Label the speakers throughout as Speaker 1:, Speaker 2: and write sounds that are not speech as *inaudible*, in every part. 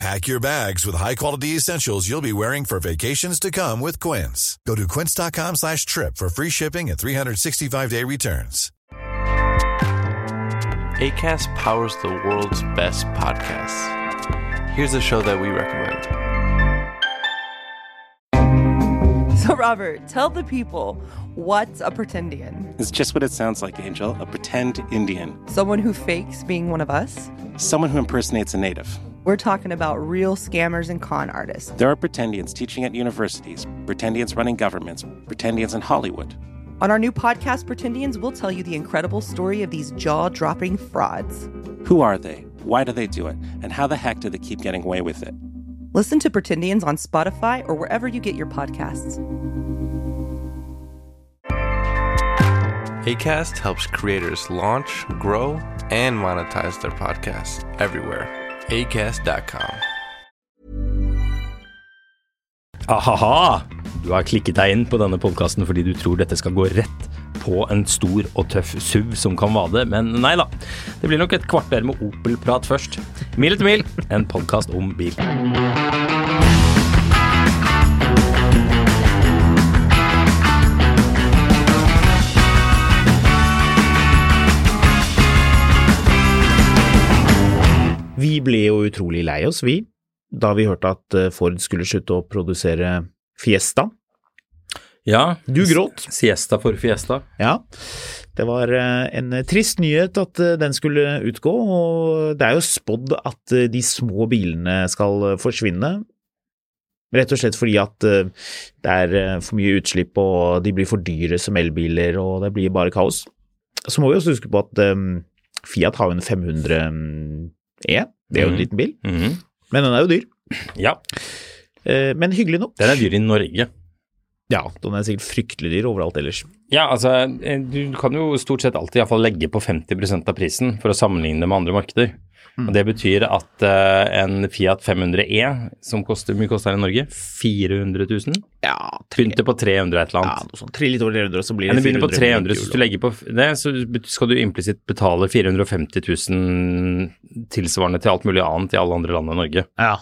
Speaker 1: Pack your bags with high-quality essentials you'll be wearing for vacations to come with Quince. Go to quince.com slash trip for free shipping and 365-day returns.
Speaker 2: ACAST powers the world's best podcasts. Here's a show that we recommend.
Speaker 3: So, Robert, tell the people what's a pretendian?
Speaker 4: It's just what it sounds like, Angel a pretend Indian,
Speaker 3: Someone who fakes being one of us?
Speaker 4: someone who impersonates a native.
Speaker 3: We're talking about real scammers and con artists.
Speaker 4: There are pretendians teaching at universities, pretendians running governments, pretendians in Hollywood.
Speaker 3: On our new podcast, Pretendians, we'll tell you the incredible story of these jaw dropping frauds.
Speaker 4: Who are they? Why do they do it? And how the heck do they keep getting away with it?
Speaker 3: Listen to Pretendians on Spotify or wherever you get your podcasts.
Speaker 2: ACAST helps creators launch, grow, and monetize their podcasts everywhere. ACAST.com.
Speaker 5: Ahaha! Du har klikket deg inn på denne podkasten fordi du tror dette skal gå rett på en stor og tøff SUV som kan vade, men nei da. Det blir nok et kvarter med Opel-prat først. Mil etter mil, en podkast om bil.
Speaker 6: Vi ble jo utrolig lei oss, vi, da vi hørte at eh, Ford skulle slutte å produsere Fiesta.
Speaker 5: Ja,
Speaker 6: Du gråt.
Speaker 5: Siesta for fiesta.
Speaker 6: Ja, det var eh, en trist nyhet at eh, den skulle utgå, og det er jo spådd at eh, de små bilene skal eh, forsvinne. Rett og slett fordi at eh, det er eh, for mye utslipp, og de blir for dyre som elbiler, og det blir bare kaos. Så må vi også huske på at eh, Fiat har jo en 500 E, det er jo en
Speaker 5: Mhm.
Speaker 6: liten bil, men den er jo dyr.
Speaker 5: Ja,
Speaker 6: Eh, Men hyggelig nok.
Speaker 5: den er dyr i Norge.
Speaker 6: Ja, den er sikkert fryktelig dyr overalt ellers.
Speaker 5: Ja, altså, eh, du kan jo stort sett alltid i hvert fall legge på 50 av prisen for å sammenligne det med andre markeder. Og Det betyr at eh, en Fiat 500 E, som koster, hvor mye koster den i Norge? 400 000?
Speaker 6: Ja, tre,
Speaker 5: Begynte på 300 et eller
Speaker 6: ja
Speaker 5: annet.
Speaker 6: noe sånn sånt. Tre litt over 300, og så blir
Speaker 5: Ja,
Speaker 6: det
Speaker 5: det begynner på 300, så hvis du
Speaker 6: 400.
Speaker 5: legger på f- det, så bet- skal du implisitt betale 450 000 tilsvarende til alt mulig annet i alle andre land enn Norge.
Speaker 6: Ja.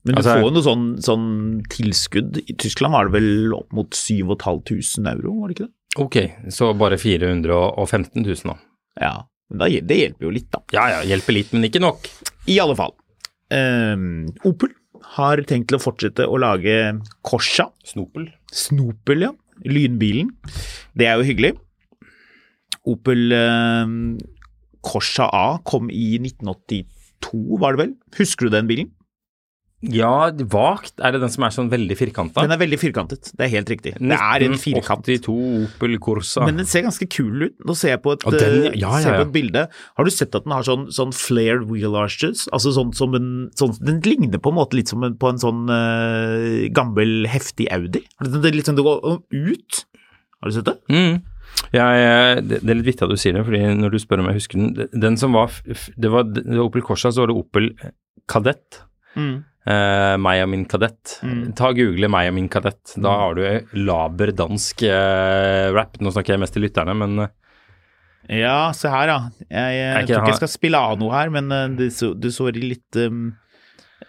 Speaker 6: Men du
Speaker 5: Altså-
Speaker 6: får jo noe sånn, sånn tilskudd. I Tyskland var det vel opp mot 7500 euro, var det ikke det?
Speaker 5: Ok, så bare 415 000 da.
Speaker 6: Ja. Men da, hjel- det hjelper jo litt, da.
Speaker 5: Ja, ja, hjelper litt, men ikke nok.
Speaker 6: I alle fall. Ehm, Opel har tenkt til å fortsette å lage Corsa.
Speaker 5: Snopel.
Speaker 6: Snopel, ja. Lynbilen. Det er jo hyggelig. Opel eh, Corsa A kom i 1982, var det vel? Husker du den bilen?
Speaker 5: Ja, vagt. Er det den som er sånn veldig firkanta?
Speaker 6: Den er veldig firkantet, det er helt riktig. Det er en firkant.
Speaker 5: 82 Opel Corsa.
Speaker 6: Men den ser ganske kul ut. Nå ser jeg på et,
Speaker 5: Ja, den, ja,
Speaker 6: eh,
Speaker 5: ja,
Speaker 6: ser
Speaker 5: ja.
Speaker 6: jeg på et bilde. Har du sett at den har sånn, sånn flared wheel arches? Altså sånn som en sånn, Den ligner på en måte litt som en, på en sånn eh, gammel, heftig Audi. Har du- Det er litt sånn det går ut. Har du sett det?
Speaker 5: Mm. Jeg, eh, det, det er litt vittig at du sier det, fordi når du spør om jeg husker den det- Den som var f- f- Det var, det var Opel Corsa, så var det Opel Kadett. Eh, meg og min kadett. Ta og Google 'meg og min kadett'. Da har du en laber dansk eh, rap. Nå snakker jeg mest til lytterne, men eh,
Speaker 6: Ja, se her, ja. Jeg, eh,
Speaker 5: Er ikke-
Speaker 6: tror ikke
Speaker 5: har-
Speaker 6: jeg skal spille av noe her, men eh, det så, det så litt um,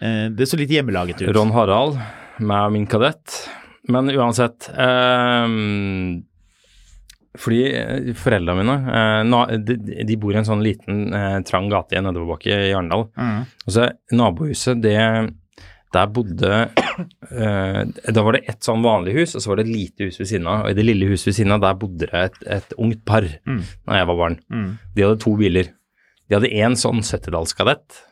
Speaker 6: eh, Det så litt hjemmelaget ut.
Speaker 5: Ron Harald, meg og min kadett. Men uansett ehm, Fordi eh, foreldrene mine eh, na- de, de bor i en sånn liten, eh, trang gate i en nedoverbakke i Arendal.
Speaker 6: Mm.
Speaker 5: Og så nabohuset, det der bodde *coughs* eh, Da var det et sånn vanlig hus, og så var det et lite hus ved siden av. Og i det lille huset ved siden av, der bodde det et, et ungt par
Speaker 6: Mm.
Speaker 5: da jeg var barn.
Speaker 6: Mm.
Speaker 5: De hadde to biler. De hadde én sånn 70-tallskadett,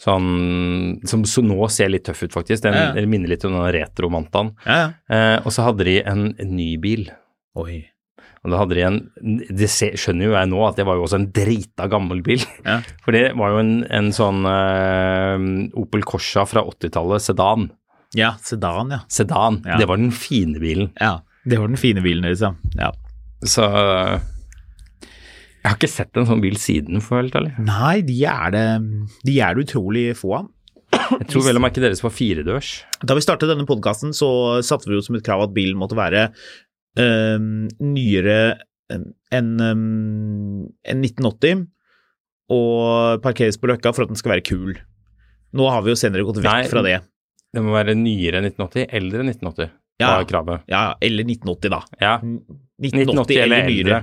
Speaker 5: sånn, som så nå ser litt tøff ut, faktisk. Den
Speaker 6: Ja, ja.
Speaker 5: minner litt om den retromantaen.
Speaker 6: Ja, ja.
Speaker 5: Eh, og så hadde de en, en ny bil.
Speaker 6: Oi.
Speaker 5: Og da hadde de en Det se- skjønner jo jeg nå at det var jo også en drita gammel bil.
Speaker 6: Ja.
Speaker 5: *laughs* For det var jo en, en sånn eh, Opel Corsa fra 80-tallet, sedan.
Speaker 6: Ja, sedan, ja.
Speaker 5: Sedan.
Speaker 6: Ja.
Speaker 5: Det var den fine bilen.
Speaker 6: ja. Det var den fine bilen, liksom. Ja.
Speaker 5: Så Jeg har ikke sett en sånn bil siden, for å være helt ærlig.
Speaker 6: Nei, de er det, de er det utrolig få av.
Speaker 5: Jeg tror vel å merke deres var firedørs.
Speaker 6: Da vi startet denne podkasten, så satte vi jo som et krav at bilen måtte være øhm, nyere øhm, enn øhm, enn 1980 og parkeres på Løkka for at den skal være kul. Nå har vi jo senere gått vekk
Speaker 5: Nei.
Speaker 6: fra det.
Speaker 5: Det må være nyere enn 1980, eldre enn 1980,
Speaker 6: Ja.
Speaker 5: var kravet.
Speaker 6: Ja, eller 1980, da.
Speaker 5: Ja,
Speaker 6: 1980,
Speaker 5: 1980 eller
Speaker 6: nyere.
Speaker 5: eldre.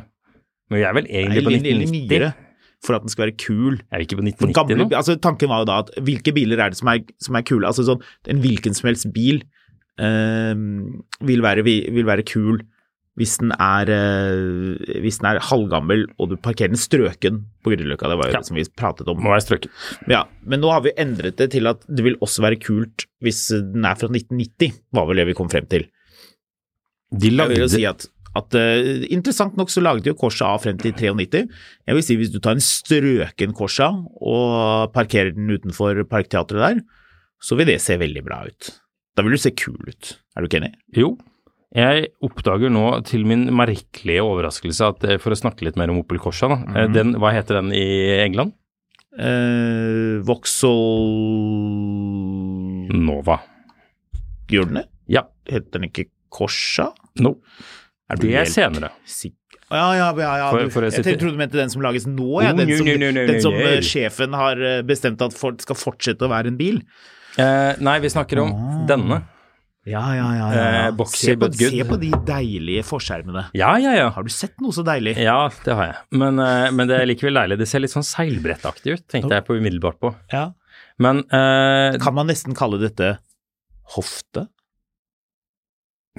Speaker 5: Men vi er vel egentlig på
Speaker 6: Eller, eller
Speaker 5: 1990?
Speaker 6: nyere, for at den skal være kul.
Speaker 5: Er vi ikke på
Speaker 6: For
Speaker 5: 1990
Speaker 6: gamle,
Speaker 5: nå?
Speaker 6: altså, tanken var jo da at hvilke biler er det som er, som er kule? Altså sånn, en hvilken som helst bil ehm, vil, være, vi- vil være kul hvis den er, eh, hvis den er halvgammel og du parkerer den strøken på Grünerløkka. Det var jo
Speaker 5: Ja.
Speaker 6: det som vi pratet om.
Speaker 5: Må være strøket.
Speaker 6: Ja, men nå har vi endret det til at det vil også være kult hvis den er fra 1990, var vel det vi kom frem til.
Speaker 5: De
Speaker 6: Jeg vil
Speaker 5: lagde
Speaker 6: jo si at, at eh, Interessant nok så laget jo Corsa A frem til 93. Jeg vil si hvis du tar en strøken Corsa og parkerer den utenfor Parkteatret der, så vil det se veldig bra ut. Da vil du se kul ut. Er du ikke enig?
Speaker 5: Jo. Jeg oppdager nå til min merkelige overraskelse at eh, for å snakke litt mer om Opel Corsa, da. eh,
Speaker 6: Mhm.
Speaker 5: Den, hva heter den i England?
Speaker 6: Uh, Vauxhall
Speaker 5: Nova.
Speaker 6: Gjør den det?
Speaker 5: Ja.
Speaker 6: Heter den ikke Corsa?
Speaker 5: No.
Speaker 6: Er
Speaker 5: Det er
Speaker 6: helt
Speaker 5: senere.
Speaker 6: sikker? Å, Ja, ja, ja, ja.
Speaker 5: For-
Speaker 6: du-
Speaker 5: for å
Speaker 6: jeg
Speaker 5: sitte-
Speaker 6: trodde du mente den som lages nå, ja.
Speaker 5: Oh,
Speaker 6: Den
Speaker 5: no,
Speaker 6: som,
Speaker 5: no, no, no,
Speaker 6: den som
Speaker 5: no.
Speaker 6: eh, sjefen har eh, bestemt at folk skal fortsette å være en bil.
Speaker 5: Eh, nei, vi snakker om
Speaker 6: Ah.
Speaker 5: denne.
Speaker 6: Ja, ja, ja. ja.
Speaker 5: Eh, boxy
Speaker 6: se, på,
Speaker 5: but good.
Speaker 6: se på de deilige forskjermene.
Speaker 5: Ja, ja, ja.
Speaker 6: Har du sett noe så deilig?
Speaker 5: Ja, det har jeg. Men, eh, men det er likevel deilig. Det ser litt sånn seilbrettaktig ut, tenkte jeg på umiddelbart på.
Speaker 6: Ja.
Speaker 5: Men eh,
Speaker 6: Kan man nesten kalle dette hofte?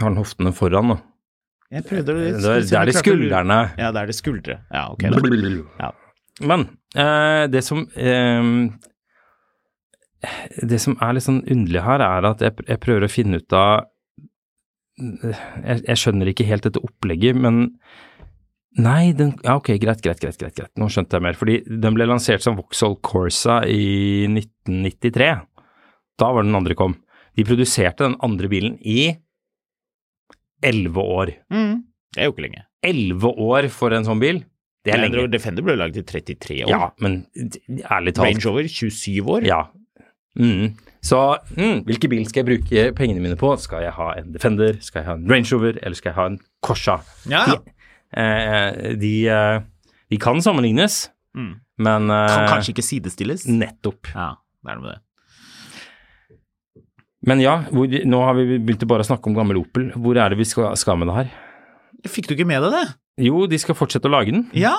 Speaker 5: har den hoftene foran nå?
Speaker 6: Eh, Jeg prøvde
Speaker 5: Eh, Det er, det er de skuldrene.
Speaker 6: Ja, det er det skuldre. Ja, ok. Da. Ja.
Speaker 5: Ja. Men eh, det som eh, Det som er litt sånn underlig her, er at jeg, jeg prøver å finne ut av jeg, jeg skjønner ikke helt dette opplegget, men Nei, den Ja, ok, greit, greit, greit, greit. greit. Nå skjønte jeg mer. Fordi den ble lansert som Vauxhall Corsa i 1993. Da var den andre kom. De produserte den andre bilen i elleve år.
Speaker 6: Mm. Det er jo ikke lenge.
Speaker 5: Elleve år for en sånn bil, det er
Speaker 6: Land
Speaker 5: lenge.
Speaker 6: Rover Defender ble laget i 33 år.
Speaker 5: Ja, men d- ærlig talt
Speaker 6: Range Rover 27 år.
Speaker 5: Ja. Mm. Så mm, hvilken bil skal jeg bruke pengene mine på? Skal jeg ha en Defender, skal jeg ha en Range Rover, eller skal jeg ha en Corsa?
Speaker 6: Ja, ja.
Speaker 5: Eh, de, eh, de kan sammenlignes,
Speaker 6: Mm.
Speaker 5: men eh,
Speaker 6: Kan kanskje ikke sidestilles.
Speaker 5: Nettopp.
Speaker 6: Ja, det er noe med det.
Speaker 5: Men ja, hvor, nå har vi begynt å bare snakke om gammel Opel. Hvor er det vi skal, skal med det her?
Speaker 6: Fikk du ikke med deg det?
Speaker 5: Jo, de skal fortsette å lage den.
Speaker 6: Ja.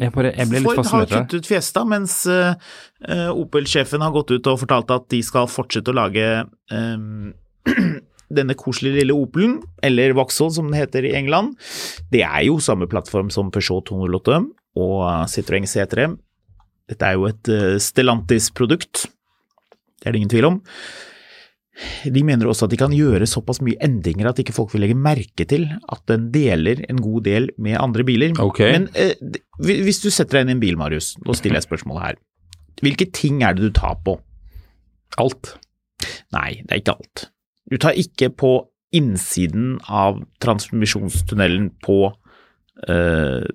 Speaker 5: Jeg, bare, jeg ble litt
Speaker 6: Ford har
Speaker 5: fascinert. av det.
Speaker 6: kuttet ut Fiesta, mens eh, eh, Opel-sjefen har gått ut og fortalt at de skal fortsette å lage eh, *clears throat* denne koselige lille Opelen, eller Vauxhall som den heter i England. Det er jo samme plattform som Peugeot 208 og eh, Citroën C3. Dette er jo et eh, Stellantis-produkt, det er det ingen tvil om. De mener også at de kan gjøre såpass mye endringer at ikke folk vil legge merke til at den deler en god del med andre biler.
Speaker 5: Ok.
Speaker 6: Men eh, d- hvi- hvis du setter deg inn i en bil, Marius, nå stiller jeg spørsmålet her. Hvilke ting er det du tar på?
Speaker 5: Alt.
Speaker 6: Nei, det er ikke alt. Du tar ikke på innsiden av transmisjonstunnelen på eh,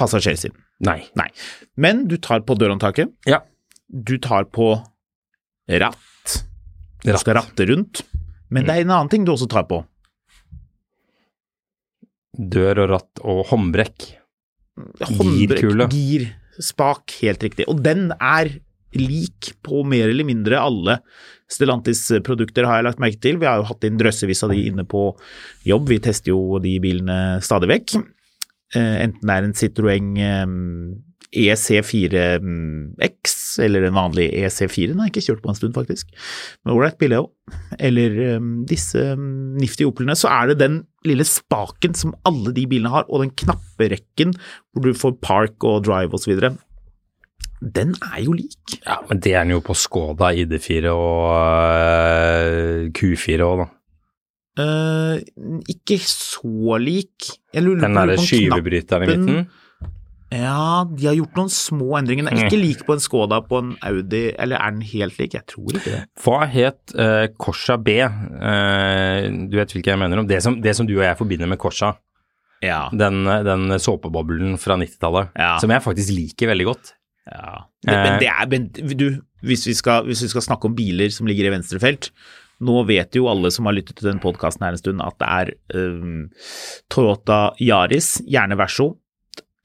Speaker 6: passasjersiden.
Speaker 5: Nei.
Speaker 6: Nei. Men du tar på dørhåndtaket.
Speaker 5: Ja.
Speaker 6: Du tar på ratt. Du
Speaker 5: Ratt.
Speaker 6: skal ratte rundt. Men det er en annen ting du også tar på.
Speaker 5: Dør og ratt og håndbrekk.
Speaker 6: Håndbrekk,
Speaker 5: Girkule.
Speaker 6: Gir, spak, helt riktig. Og den er lik på mer eller mindre alle Stellantis-produkter, har jeg lagt merke til. Vi har jo hatt inn drøssevis av de inne på jobb. Vi tester jo de bilene stadig vekk. Eh, Enten det er en Citroën eh, EC4X, eller en vanlig EC4, den har jeg ikke kjørt på en stund faktisk, men ålreit billig òg, eller eh, disse eh, nifty Opelene, så er det den lille spaken som alle de bilene har, og den knapperekken hvor du får park og drive osv. Den er jo lik.
Speaker 5: Ja, men det er den jo på Skoda, ID4 og øh, Q4 òg, da.
Speaker 6: Eh, ikke så lik. Jeg lurer
Speaker 5: Den
Speaker 6: på- lurer
Speaker 5: derre
Speaker 6: på om
Speaker 5: skyvebryteren i
Speaker 6: knappen-
Speaker 5: midten.
Speaker 6: Ja, de har gjort noen små endringer. Den er
Speaker 5: Mm.
Speaker 6: ikke lik på en Skoda på en Audi, eller er den helt lik? Jeg tror ikke det.
Speaker 5: Hva het eh, Corsa B? Eh, du vet hvilken jeg mener om. Det som, det som du og jeg forbinder med Corsa.
Speaker 6: Ja.
Speaker 5: Den, den såpeboblen fra 90-tallet,
Speaker 6: Ja.
Speaker 5: som jeg faktisk liker veldig godt.
Speaker 6: Ja. Men, men det er men du, hvis vi, skal, hvis vi skal snakke om biler som ligger i venstrefelt Nå vet jo alle som har lyttet til den podkasten her en stund, at det er øhm, Toyota Yaris, gjerne Verso,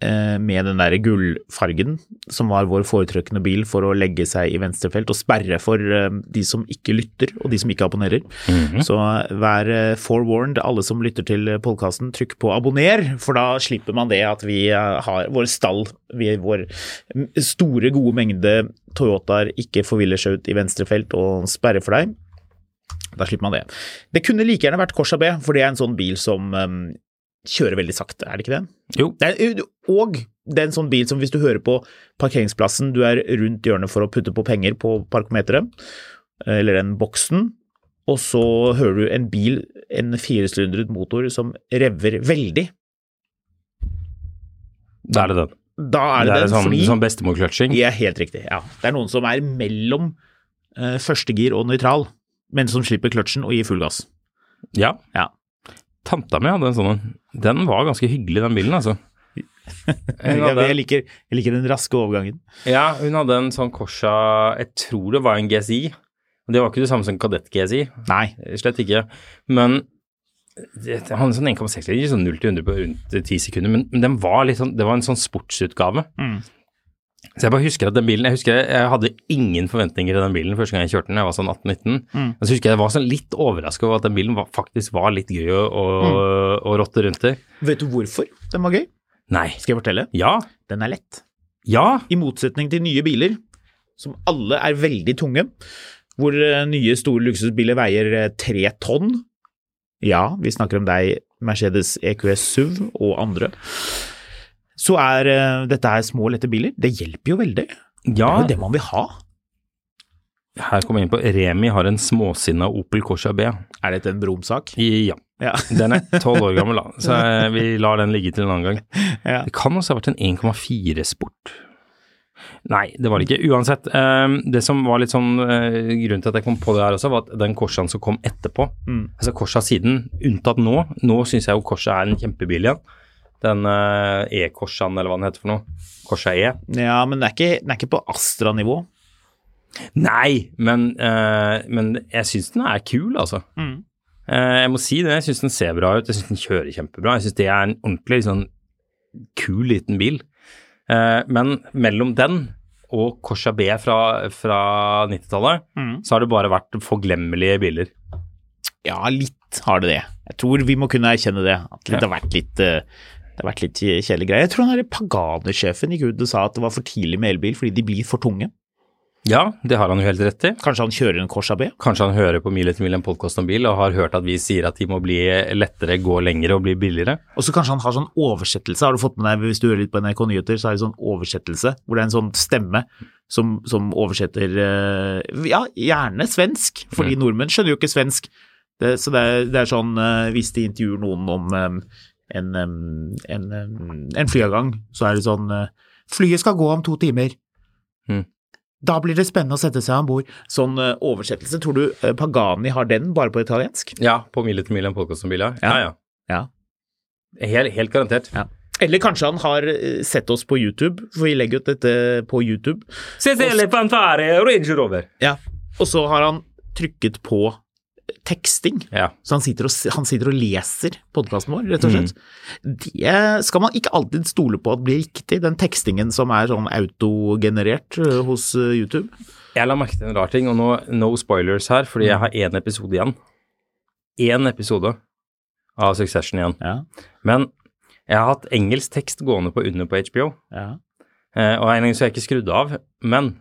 Speaker 6: eh, med den der gullfargen som var vår foretrukne bil for å legge seg i venstrefelt og sperre for øhm, de som ikke lytter, og de som ikke abonnerer. Så vær eh, forewarned, alle som lytter til podkasten, trykk på abonner, for da slipper man det at vi eh, har vår stall, vi, vår store, gode mengde Toyotaer ikke forviller seg ut i venstrefelt og sperrer for deg. Da slipper man det. Det kunne like gjerne vært Corsa B, for det er en sånn bil som eh, kjører veldig sakte, er det ikke det?
Speaker 5: Jo.
Speaker 6: Det er, og det er en sånn bil som hvis du hører på parkeringsplassen, du er rundt hjørnet for å putte på penger på parkometeret, eller den boksen, og så hører du en bil, en firesylindret motor, som revver veldig.
Speaker 5: Da er det den.
Speaker 6: Da er det,
Speaker 5: det er
Speaker 6: den,
Speaker 5: sånn,
Speaker 6: fordi
Speaker 5: sånn bestemorkløtsjing.
Speaker 6: Ja, helt riktig. Ja. Det er noen som er mellom eh, førstegir og nøytral, men som slipper kløtsjen og gir full gass.
Speaker 5: Ja.
Speaker 6: Ja.
Speaker 5: Tanta mi hadde en sånn en. Den var ganske hyggelig, den bilen,
Speaker 6: *laughs*
Speaker 5: altså. Hun
Speaker 6: Jeg,
Speaker 5: hadde,
Speaker 6: jeg, liker, jeg liker den raske overgangen.
Speaker 5: ja, hun hadde en sånn Corsa Jeg tror det var en GSI. Og Det var ikke det samme som kadett-GSI.
Speaker 6: Nei.
Speaker 5: Slett ikke. Men det, han hadde sånn 1,6 liter, sånn 0 til 100 på rundt 10 sekunder. Men, men den var litt sånn, det var en sånn sportsutgave.
Speaker 6: Mm.
Speaker 5: Så jeg bare husker at den bilen Jeg husker jeg hadde ingen forventninger til den bilen første gang jeg kjørte den. Jeg var sånn 18-19.
Speaker 6: Mm.
Speaker 5: Og så husker jeg jeg var sånn litt overraska over at den bilen var, faktisk var litt gøy å, å,
Speaker 6: Mm.
Speaker 5: å rotte rundt i.
Speaker 6: Vet du hvorfor den var gøy?
Speaker 5: Nei.
Speaker 6: Skal jeg fortelle?
Speaker 5: Ja.
Speaker 6: Den er lett.
Speaker 5: Ja.
Speaker 6: I motsetning til nye biler, som alle er veldig tunge, hvor eh, nye store luksusbiler veier eh, tre tonn. Ja, vi snakker om deg, Mercedes E EQS SUV og andre. Så er eh, dette her små, lette biler. Det hjelper jo veldig. Det
Speaker 5: ja.
Speaker 6: er jo det man vil ha.
Speaker 5: Her kommer jeg inn på Remi har en småsinna Opel Corsa B.
Speaker 6: Er dette en brumsak?
Speaker 5: I- Ja.
Speaker 6: Ja. *laughs*
Speaker 5: Den er tolv år gammel, da, så eh, vi lar den ligge til en annen gang.
Speaker 6: Ja.
Speaker 5: Det kan også ha vært en 1,4 Sport. Nei, det var det ikke. Uansett, eh, det som var litt sånn eh, grunnen til at jeg kom på det her også, var at den Corsaen som kom etterpå,
Speaker 6: Mm.
Speaker 5: altså Corsa siden, unntatt nå, nå syns jeg jo Corsa er en kjempebil igjen. Den eh, E-Corsaen, eller hva den heter for noe. Corsa E.
Speaker 6: ja, men den er ikke, den er ikke på Astra-nivå.
Speaker 5: Nei, men, eh, men jeg syns den er kul, altså.
Speaker 6: Mm.
Speaker 5: Eh, jeg må si det. Jeg syns den ser bra ut. Jeg syns den kjører kjempebra. Jeg syns det er en ordentlig sånn kul liten bil. Eh, men mellom den og Corsa B fra, fra 90-tallet,
Speaker 6: Mm.
Speaker 5: så har det bare vært forglemmelige biler.
Speaker 6: Ja, litt har det det. Jeg tror vi må kunne erkjenne det. At det har vært litt eh, det har vært litt kjedelig greie. Jeg tror han der Pagani-sjefen gikk ut og sa at det var for tidlig med elbil fordi de blir for tunge.
Speaker 5: Ja, det har han jo helt rett i.
Speaker 6: Kanskje han kjører en Corsa B?
Speaker 5: Kanskje han hører på Mil etter mil en podkast om bil og har hørt at vi sier at de må bli lettere, gå lengre og bli billigere.
Speaker 6: Og så kanskje han har sånn oversettelse. Har du fått med deg, hvis du hører litt på NRK Nyheter, så er det sånn oversettelse hvor det er en sånn stemme som, som oversetter eh, Ja, gjerne svensk, fordi nordmenn skjønner jo ikke svensk. Det, så det er, det er sånn eh, hvis de intervjuer noen om eh, en, eh, en, eh, en flyavgang, så er det sånn eh, Flyet skal gå om to timer.
Speaker 5: Mm.
Speaker 6: Da blir det spennende å sette seg om bord. Sånn eh, oversettelse, tror du eh, Pagani har den bare på italiensk?
Speaker 5: Ja, på Mil etter mil en podkast om bil, ja. Ja, ja.
Speaker 6: Ja.
Speaker 5: Helt, helt garantert.
Speaker 6: Eller kanskje han har eh, sett oss på YouTube, for vi legger ut dette på YouTube.
Speaker 5: Cecilie Pantare, Range Rover.
Speaker 6: Og så har han trykket på eh, teksting,
Speaker 5: Ja.
Speaker 6: så han sitter og, s- han sitter og leser podkasten vår, rett og slett. Det skal man ikke alltid stole på at blir riktig, den tekstingen som er sånn autogenerert eh, hos eh, YouTube.
Speaker 5: Jeg la merke til en rar ting, og nå no spoilers her, fordi jeg har én episode igjen. Én episode av Succession igjen.
Speaker 6: Ja,
Speaker 5: Men jeg har hatt engelsk tekst gående på under på HBO,
Speaker 6: ja.
Speaker 5: eh, og av en gang så har jeg ikke skrudd av. Men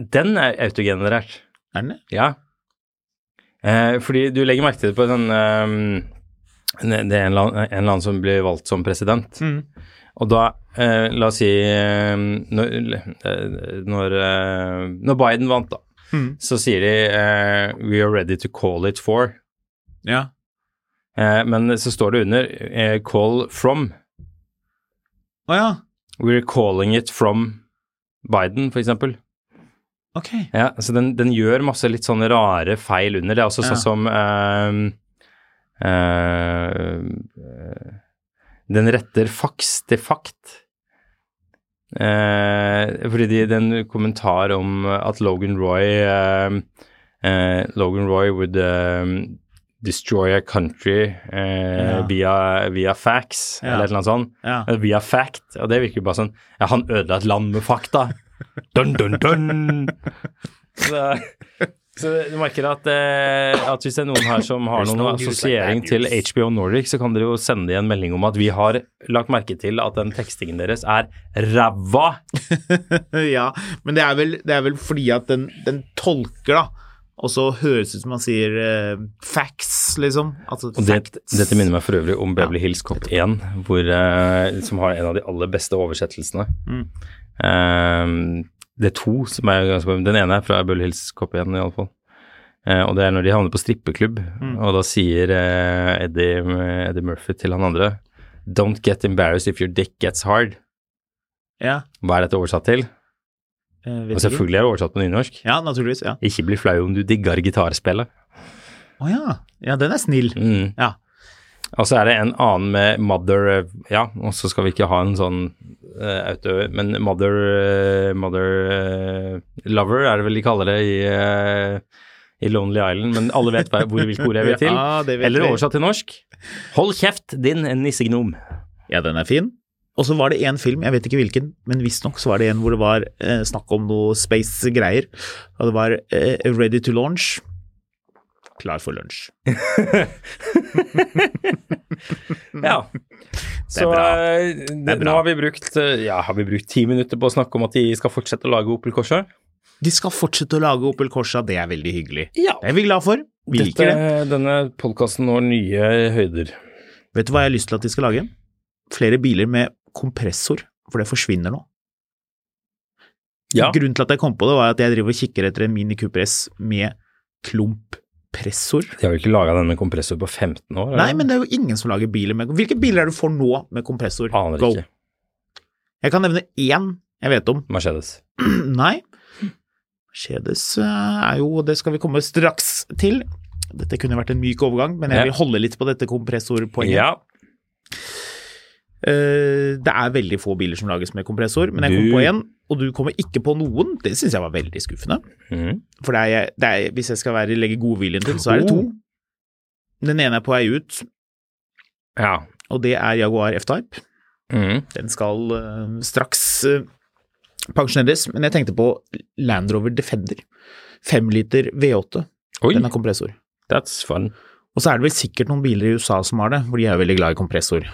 Speaker 5: den er autogenerert.
Speaker 6: Er den det?
Speaker 5: Ja. Eh, fordi du legger merke til det på den eh, Det er en eller annen- en eller annen som blir valgt som president. Og da, eh, la oss si eh, Når, eh, når, eh, når Biden vant, da,
Speaker 6: Mm.
Speaker 5: så sier de eh, We are ready to call it for.
Speaker 6: Ja.
Speaker 5: Eh, men så står det under eh, Call from.
Speaker 6: Å ja,
Speaker 5: We're calling it from Biden, for eksempel.
Speaker 6: ok.
Speaker 5: Ja, så den, den gjør masse litt sånne rare feil sånn under. Det er også
Speaker 6: Ja.
Speaker 5: sånn som eh, eh, Den retter faks til fakt. Eh, fordi de, det er en kommentar om at Logan Roy eh, eh, Logan Roy would eh, destroy a country eh,
Speaker 6: Ja.
Speaker 5: via, via facts,
Speaker 6: Ja.
Speaker 5: eller et eller annet sånt.
Speaker 6: Ja.
Speaker 5: Eh, Via fact. Og det virker jo bare sånn Ja, han ødela et land med fakta. Dun, dun, dun. Så, så du merker at, eh, at hvis det er noen her som har
Speaker 6: There's
Speaker 5: noen
Speaker 6: no news like
Speaker 5: assosiering
Speaker 6: bad
Speaker 5: til
Speaker 6: news.
Speaker 5: HBO Nordic, så kan dere jo sende en melding om at vi har lagt merke til at den tekstingen deres er ræva.
Speaker 6: *laughs* ja, men det er vel, det er vel fordi at den, den tolker, da. Og så høres det ut som man sier eh, facts, liksom. Altså,
Speaker 5: Og det,
Speaker 6: facts.
Speaker 5: dette minner meg for øvrig om Beverly Hills Cop 1, hvor, eh, som har en av de aller beste oversettelsene. Eh, det er to som er ganske Den ene er fra Beverly Hills Cop 1, iallfall. Uh, og det er når de havner på strippeklubb, og da sier eh, Eddie, Eddie Murphy til han andre Don't get embarrassed if your dick gets hard.
Speaker 6: Ja,
Speaker 5: Hva er dette oversatt til?
Speaker 6: eh, vet
Speaker 5: Og
Speaker 6: ikke.
Speaker 5: selvfølgelig er det oversatt på nynorsk.
Speaker 6: Ja, naturligvis. Ja.
Speaker 5: Ikke bli flau om du digger gitarspillet.
Speaker 6: Å ja. Ja, den er snill.
Speaker 5: Mm.
Speaker 6: Ja.
Speaker 5: Og så er det en annen med Mother eh, Ja, og så skal vi ikke ha en sånn eh, auto... Men Mother eh, Mother eh, Lover er det vel de kaller det i, eh, i Lonely Island, men alle vet hva- hvor hvilke ord
Speaker 6: *laughs*
Speaker 5: jeg vil til.
Speaker 6: Ja, det vet
Speaker 5: Eller
Speaker 6: vi.
Speaker 5: oversatt til norsk Hold kjeft, din nissegnom.
Speaker 6: Ja, den er fin. Og så var det en film, jeg vet ikke hvilken, men visstnok så var det en hvor det var eh, snakk om noe space-greier. Og det var eh, Ready to launch. Klar for lunsj.
Speaker 5: Ja. Så
Speaker 6: Mm. bra.
Speaker 5: eh,
Speaker 6: er
Speaker 5: nå
Speaker 6: bra.
Speaker 5: har vi brukt eh, ja, har vi brukt ti minutter på å snakke om at de skal fortsette å lage Opel Corsa.
Speaker 6: De skal fortsette å lage Opel Corsa, det er veldig hyggelig.
Speaker 5: Ja.
Speaker 6: Det er vi glad for. Vi liker det.
Speaker 5: Dette, denne podkasten når nye høyder.
Speaker 6: Vet du hva jeg har lyst til at de skal lage? Flere biler med kompressor, for det forsvinner nå.
Speaker 5: Ja.
Speaker 6: Grunnen til at jeg kom på det, var at jeg driver og kikker etter en Mini Cooper S med klumppressor.
Speaker 5: De har vel ikke laga denne kompressor på 15 år?
Speaker 6: Nei, men det er jo ingen som lager biler med Hvilke biler er det du får nå med kompressor?
Speaker 5: Aner
Speaker 6: Go.
Speaker 5: ikke.
Speaker 6: Jeg kan nevne én jeg vet om. *clears throat*
Speaker 5: Mercedes.
Speaker 6: Nei. Mercedes eh, er jo Det skal vi komme straks til. Dette kunne vært en myk overgang, men
Speaker 5: Ja.
Speaker 6: jeg vil holde litt på dette kompressorpoenget.
Speaker 5: Ja,
Speaker 6: Eh, det er veldig få biler som lages med kompressor, men jeg kom
Speaker 5: Du-
Speaker 6: på en, og du kommer ikke på noen. Det syns jeg var veldig skuffende.
Speaker 5: Mhm.
Speaker 6: For det er, det er, hvis jeg skal være, legge godviljen til, så er det to.
Speaker 5: Oh.
Speaker 6: Den ene er på vei ut,
Speaker 5: ja.
Speaker 6: og det er Jaguar F-Type.
Speaker 5: Mhm.
Speaker 6: Den skal eh, straks eh, pensjoneres, men jeg tenkte på Land Rover Defender. 5 liter V8,
Speaker 5: Oi,
Speaker 6: den har kompressor.
Speaker 5: that's fun.
Speaker 6: Og så er det vel sikkert noen biler i USA som har det, for de er jo veldig glad i kompressor.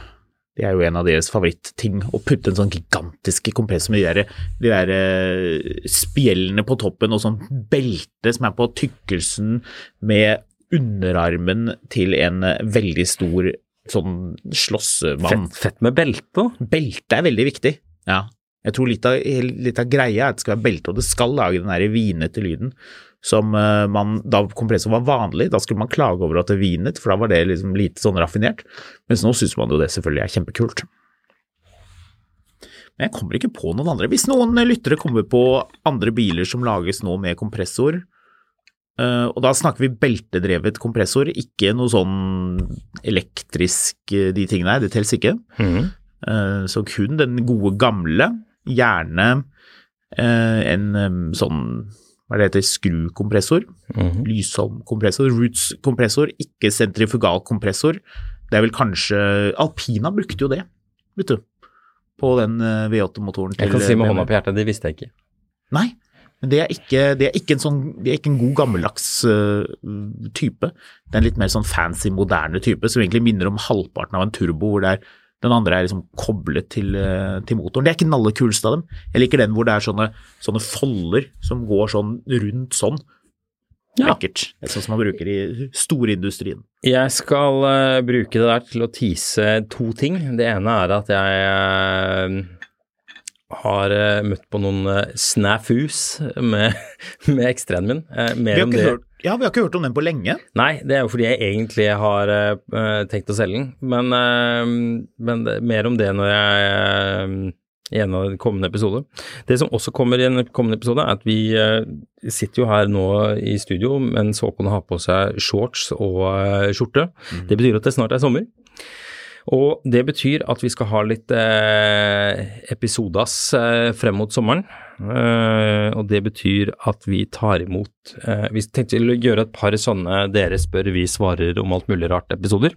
Speaker 6: Det er jo en av deres favorittting, å putte en sånn gigantisk kompressor med de der, de der eh, spjellene på toppen og sånn belte som er på tykkelsen med underarmen til en eh, veldig stor sånn slåssemann.
Speaker 5: Fett, fett med belte.
Speaker 6: Belte er veldig viktig. Ja. Jeg tror litt av, litt av greia er at det skal være belte, og det skal lage den der vinete lyden som eh, man Da kompressor var vanlig, da skulle man klage over at det vinet, for da var det liksom lite sånn raffinert. Mens nå syns man jo det selvfølgelig er kjempekult. Men jeg kommer ikke på noen andre. Hvis noen lyttere kommer på andre biler som lages nå med kompressor, eh, og da snakker vi beltedrevet kompressor, ikke noe sånn elektrisk eh, de tingene her, det teller ikke.
Speaker 5: Mhm.
Speaker 6: Eh, Så kun den gode gamle, gjerne eh, en em, sånn hva er det heter, skrukompressor,
Speaker 5: Mhm.
Speaker 6: lysholmkompressor, rootskompressor, ikke sentrifugalkompressor. Det er vel kanskje Alpina brukte jo det, vet du, på den eh, V8-motoren.
Speaker 5: Jeg kan si med hånda på hjertet, det visste jeg ikke.
Speaker 6: Nei, men det er ikke, det er ikke, en, sånn, det er ikke en god gammeldags eh, type. Det er en litt mer sånn fancy, moderne type som egentlig minner om halvparten av en turbo, hvor det er, den andre er liksom koblet til, eh, til motoren. Det er ikke den aller kuleste av dem. Jeg liker den hvor det er sånne, sånne folder som går sånn rundt sånn.
Speaker 5: Ja.
Speaker 6: Lekkert. Det er sånn som man bruker i storindustrien.
Speaker 5: Jeg skal eh, bruke det der til å tease to ting. Det ene er at jeg eh, har eh, møtt på noen uh, snafus med, *laughs* med ekstremen min. Eh, mer
Speaker 6: Vi har,
Speaker 5: om
Speaker 6: ikke
Speaker 5: det-
Speaker 6: hørt, ja, vi har ikke hørt om den på lenge.
Speaker 5: Nei, det er jo fordi jeg egentlig har eh, eh, tenkt å selge den. Men, eh, men det, mer om det når jeg eh, i en av de kommende episoder. Det som også kommer i en kommende episode, er at vi eh, sitter jo her nå i studio mens Håkon har på seg shorts og eh, skjorte. Det betyr at det snart er sommer. Og det betyr at vi skal ha litt eh, episodas eh, frem mot sommeren. Eh, og det betyr at vi tar imot eh, Vi tenkte å gjøre et par sånne dere spør, vi svarer om alt mulig rart-episoder.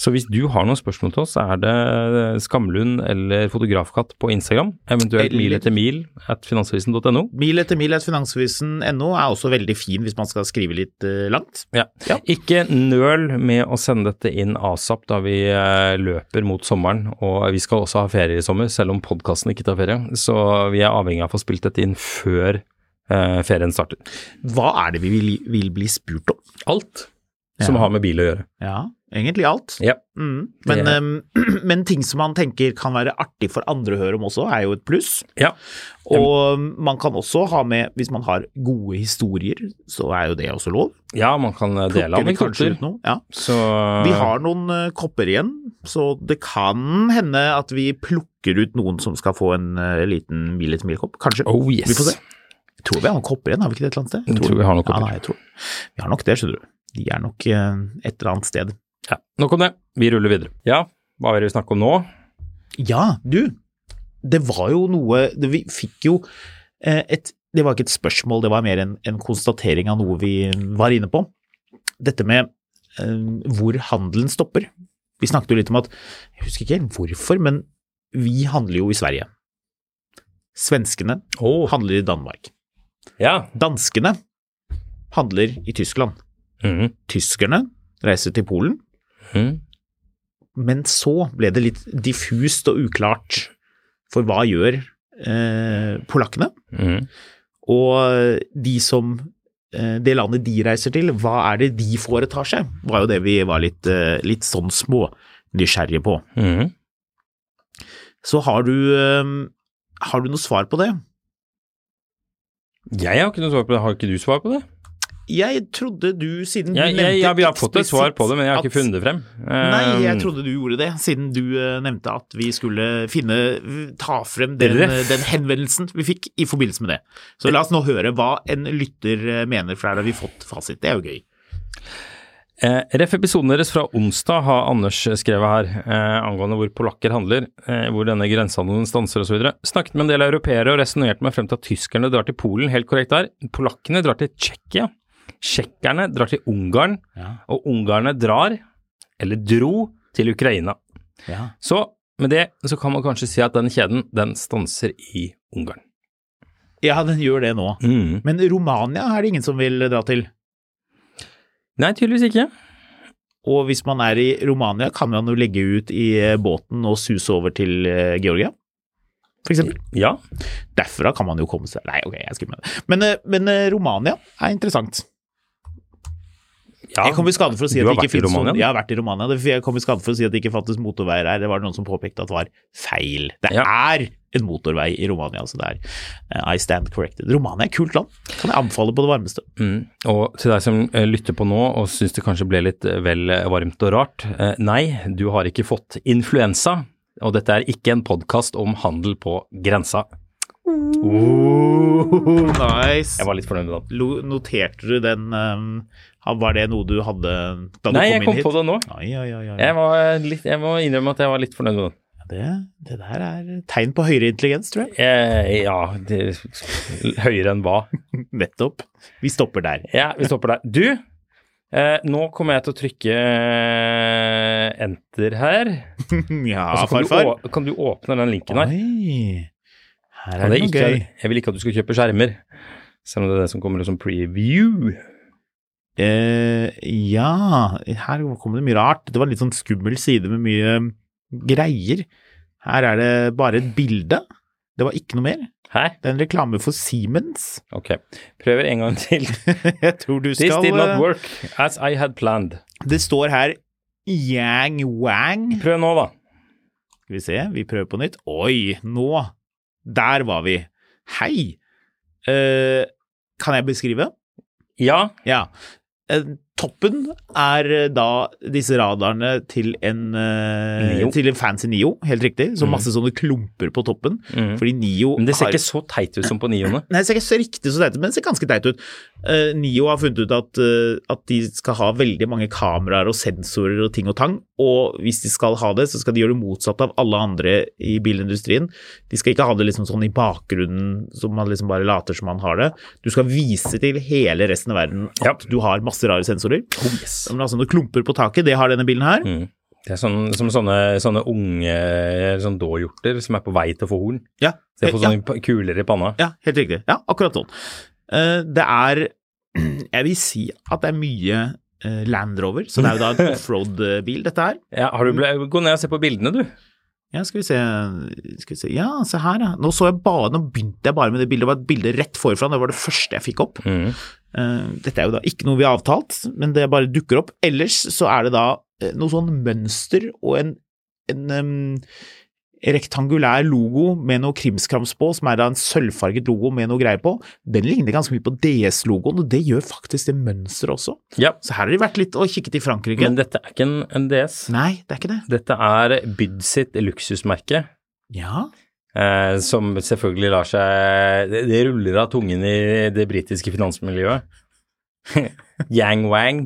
Speaker 5: Så hvis du har noen spørsmål til oss, er det eh, Skamlund eller Fotografkatt på Instagram. Eventuelt
Speaker 6: Eller-
Speaker 5: mil etter mil at finansavisen.no.
Speaker 6: Mil etter mil at finansavisen.no er også veldig fin hvis man skal skrive litt eh, langt.
Speaker 5: Ja.
Speaker 6: Ja.
Speaker 5: Ikke nøl med å sende dette inn asap da vi eh, løper mot sommeren, og vi skal også ha ferie i sommer, selv om podkasten ikke tar ferie. Så vi er avhengig av å få spilt dette inn før eh, ferien starter.
Speaker 6: Hva er det vi vil, vil bli spurt om?
Speaker 5: Alt som
Speaker 6: Ja.
Speaker 5: har med bil å gjøre.
Speaker 6: Ja, egentlig alt.
Speaker 5: Ja.
Speaker 6: Mm. Men,
Speaker 5: Det-
Speaker 6: ehm, *clears throat* men ting som man tenker kan være artig for andre å høre om også, er jo et pluss.
Speaker 5: ja.
Speaker 6: Og ehm, man kan også ha med, hvis man har gode historier, så er jo det også lov.
Speaker 5: Ja, man kan eh, dele
Speaker 6: Plukker vi kanskje
Speaker 5: anekdoter.
Speaker 6: ut noe? Ja.
Speaker 5: Så
Speaker 6: Vi har noen eh, kopper igjen, så det kan hende at vi plukker ut noen som skal få en eh, liten mil etter mil-kopp. Kanskje.
Speaker 5: Oh yes.
Speaker 6: Vi får se. Jeg tror vi har noen kopper igjen, har vi ikke det et eller annet sted?
Speaker 5: Jeg tror vi har noen kopper.
Speaker 6: Ja, nei, jeg tror. Vi har nok det, skjønner du. De er nok eh, et eller annet sted.
Speaker 5: Ja, nok om det. Vi ruller videre. Ja, hva vil vi snakke om nå?
Speaker 6: Ja, du. Det var jo noe det- Vi fikk jo eh, et Det var ikke et spørsmål, det var mer en, en konstatering av noe vi var inne på. Dette med eh, hvor handelen stopper. Vi snakket jo litt om at Jeg husker ikke helt hvorfor, men vi handler jo i Sverige. Svenskene
Speaker 5: Oh.
Speaker 6: handler i Danmark.
Speaker 5: Ja.
Speaker 6: Danskene handler i Tyskland.
Speaker 5: Mhm.
Speaker 6: Tyskerne reiser til Polen.
Speaker 5: Mhm.
Speaker 6: Men så ble det litt diffust og uklart, for hva gjør eh, polakkene?
Speaker 5: Mhm.
Speaker 6: Og de som eh, det landet de reiser til, hva er det de foretar seg? Var jo det vi var litt, eh, litt sånn små nysgjerrige på.
Speaker 5: Mhm.
Speaker 6: Så har du, eh, har du noe svar på det?
Speaker 5: Jeg har ikke noe svar på det. Har ikke du svar på det?
Speaker 6: Jeg trodde du, siden
Speaker 5: Jeg,
Speaker 6: du
Speaker 5: jeg, ja, vi har fått et svar
Speaker 6: eksplisitt
Speaker 5: på det, men jeg har ikke
Speaker 6: at-
Speaker 5: funnet det frem.
Speaker 6: Nei, jeg
Speaker 5: Um,
Speaker 6: trodde du gjorde det, siden du eh, nevnte at vi skulle finne, ta frem den, eh,
Speaker 5: Ref.
Speaker 6: den henvendelsen vi fikk i forbindelse med det. Så la oss nå høre hva en lytter eh, mener, for her har vi fått fasit. Det er jo gøy.
Speaker 5: Eh, ref episoden deres fra onsdag har Anders skrevet her, eh, angående hvor polakker handler, eh, hvor denne grensehandelen stanser osv. Snakket med en del europeere og resonnerte meg frem til at tyskerne drar til Polen, helt korrekt der. Polakkene drar til Tsjekkia. Tsjekkerne drar til Ungarn, og ungarne drar, eller dro, til Ukraina. Så med det så kan man kanskje si at den kjeden, den stanser i Ungarn.
Speaker 6: Ja, den gjør det nå.
Speaker 5: Mm.
Speaker 6: Men Romania er det ingen som vil eh, dra til.
Speaker 5: Nei, tydeligvis ikke.
Speaker 6: Og hvis man er i Romania, kan man jo legge ut i eh, båten og suse over til eh, Georgia, for eksempel.
Speaker 5: Ja.
Speaker 6: Derfra kan man jo komme seg Nei, ok, jeg skulle med det. Men, eh, men eh, Romania er interessant.
Speaker 5: ja.
Speaker 6: Jeg kom i skade for å si
Speaker 5: Du
Speaker 6: at
Speaker 5: har
Speaker 6: det ikke
Speaker 5: vært i
Speaker 6: finnes
Speaker 5: Romania,
Speaker 6: noen
Speaker 5: du.
Speaker 6: Jeg har vært i Romania. det- Jeg kom i skade for å si at det ikke fantes motorveier her. Det var noen som påpekte at det var feil. Det
Speaker 5: Ja.
Speaker 6: er en motorvei i Romania, så det er eh, I stand corrected. Romania er et kult land. Kan jeg anbefale på det varmeste.
Speaker 5: Mm. Og til deg som eh, lytter på nå og syns det kanskje ble litt eh, vel eh, varmt og rart, eh, nei, du har ikke fått influensa, og dette er ikke en podkast om handel på grensa.
Speaker 6: Nice.
Speaker 5: Jeg var litt fornøyd med den.
Speaker 6: Lo, noterte du den um, Var det noe du hadde da du
Speaker 5: Nei,
Speaker 6: kom
Speaker 5: jeg
Speaker 6: inn
Speaker 5: kom
Speaker 6: hit?
Speaker 5: på det nå.
Speaker 6: Oi, oi, oi, oi.
Speaker 5: Jeg, var eh, litt, jeg må innrømme at jeg var litt fornøyd med den.
Speaker 6: Det, det der er tegn på høyere intelligens, tror jeg.
Speaker 5: Eh, ja, det, høyere enn hva?
Speaker 6: Nettopp. Vi stopper
Speaker 5: *laughs*
Speaker 6: der.
Speaker 5: Ja, vi stopper der. Du, eh, nå kommer jeg til å trykke eh, enter her.
Speaker 6: ja,
Speaker 5: Og så kan, du
Speaker 6: farfar.
Speaker 5: å- kan du åpne den linken her.
Speaker 6: Oi. Her
Speaker 5: Og
Speaker 6: er
Speaker 5: det
Speaker 6: det
Speaker 5: er
Speaker 6: noe
Speaker 5: ikke,
Speaker 6: gøy.
Speaker 5: jeg vil ikke at du skal kjøpe skjermer, selv om det er det som kommer som preview.
Speaker 6: Eh, ja, her kommer det mye rart. Det var en litt sånn skummel side med mye um, greier. Her er det bare et bilde. Det var ikke noe mer.
Speaker 5: Hæ?
Speaker 6: Det er en reklame for Siemens. *laughs*
Speaker 5: Ok. Prøver en gang *laughs* til.
Speaker 6: Jeg tror du
Speaker 5: This
Speaker 6: skal
Speaker 5: did
Speaker 6: eh,
Speaker 5: not work as I had planned.
Speaker 6: Det står her Yang Wang.
Speaker 5: Prøv nå, da.
Speaker 6: Skal vi se, vi prøver på nytt. Oi, nå! Der var vi. Hei! Eh, kan jeg beskrive?
Speaker 5: Ja,
Speaker 6: Ja. En Eh, Toppen er eh, da disse radarene til en, eh,
Speaker 5: Neo.
Speaker 6: til en fancy Nio, helt riktig. Så masse sånne klumper på toppen.
Speaker 5: Mm.
Speaker 6: Fordi Nio
Speaker 5: Mhm. Men det ser
Speaker 6: har-
Speaker 5: ikke så teit ut som på nioene.
Speaker 6: Nei, det ser ikke så riktig så teit ut, men det ser ganske teit ut. Eh, Nio har funnet ut at, eh, at de skal ha veldig mange kameraer og sensorer og ting og tang, og hvis de skal ha det, så skal de gjøre det motsatte av alle andre i bilindustrien. De skal ikke ha det liksom sånn i bakgrunnen, som man liksom bare later som man har det. Du skal vise til hele resten av verden at
Speaker 5: Ja. Oh,
Speaker 6: du har masse rare sensorer. Men altså, noen klumper på taket, det har denne bilen her.
Speaker 5: *laughs* Det er sånn, som sånne, sånne unge sånn dåhjorter som er på vei til å få horn.
Speaker 6: Ja.
Speaker 5: Så jeg får
Speaker 6: Ja.
Speaker 5: sånne p- kuler i panna.
Speaker 6: Ja, helt riktig. Ja, akkurat sånn. Eh, Det er *clears throat* Jeg vil si at det er mye eh, Land Rover, som er jo da en offroad-bil, dette her.
Speaker 5: Ja, har du ble, gå ned og se på bildene, du.
Speaker 6: Ja, skal vi se, skal vi se. Ja, se her, ja. Nå, så jeg bare, nå begynte jeg bare med det bildet. Det var et bilde rett forfra. Det var det første jeg fikk opp.
Speaker 5: Mm.
Speaker 6: Eh, Dette er jo da ikke noe vi har avtalt, men det bare dukker opp. Ellers så er det da eh, noe sånn mønster og en, en em, rektangulær logo med noe krimskrams på, som er da en sølvfarget logo med noe greier på. Den ligner ganske mye på DS-logoen, og det gjør faktisk det mønsteret også.
Speaker 5: Ja,
Speaker 6: Så her har de vært litt og kikket i Frankrike.
Speaker 5: men dette er ikke en, en DS.
Speaker 6: Nei, det er ikke det.
Speaker 5: Dette er Byd sitt luksusmerke,
Speaker 6: Ja,
Speaker 5: eh, som selvfølgelig lar seg det, det ruller av tungen i det britiske finansmiljøet. *laughs* Yang Wang.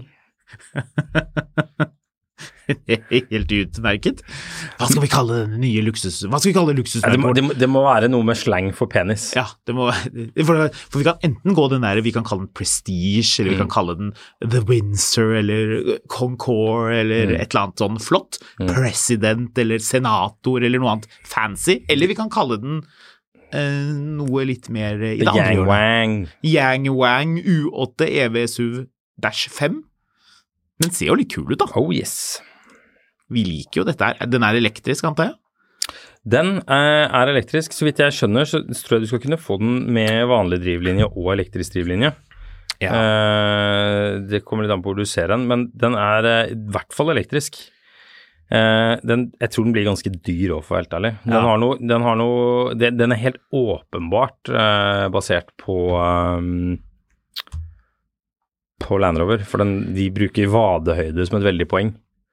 Speaker 6: *laughs* helt utmerket. Hva skal vi kalle den nye luksus... Hva skal vi
Speaker 5: Ja,
Speaker 6: kalle
Speaker 5: det, må,
Speaker 6: luksusmerket?
Speaker 5: det, må, det må være noe med slang for penis.
Speaker 6: Ja, det må, for, for vi kan enten gå den der vi kan kalle den Prestige, eller vi
Speaker 5: Mm.
Speaker 6: kan kalle den The Windsor, eller Concord, eller
Speaker 5: Mm.
Speaker 6: et eller annet sånn flott. President, eller senator, eller noe annet fancy. Eller vi kan kalle den eh, noe litt mer eh, i det andre
Speaker 5: Yang
Speaker 6: hjørnet.
Speaker 5: Wang.
Speaker 6: Yang Wang U8 EV SUV Dash 5. Den ser jo litt kul ut, da.
Speaker 5: Oh yes.
Speaker 6: Vi liker jo dette her. Den er elektrisk, antar jeg?
Speaker 5: Den eh, er elektrisk. Så vidt jeg skjønner, så tror jeg du skal kunne få den med vanlig drivlinje og elektrisk drivlinje. Eh, det kommer litt an på hvor du ser den, men den er eh, i hvert fall elektrisk. Eh, den, jeg tror den blir ganske dyr òg, for å være helt ærlig. Den,
Speaker 6: Ja.
Speaker 5: har noe, den, har noe, den, den er helt åpenbart eh, basert på eh, på Land Rover, for den, de bruker vadehøyde som et veldig poeng.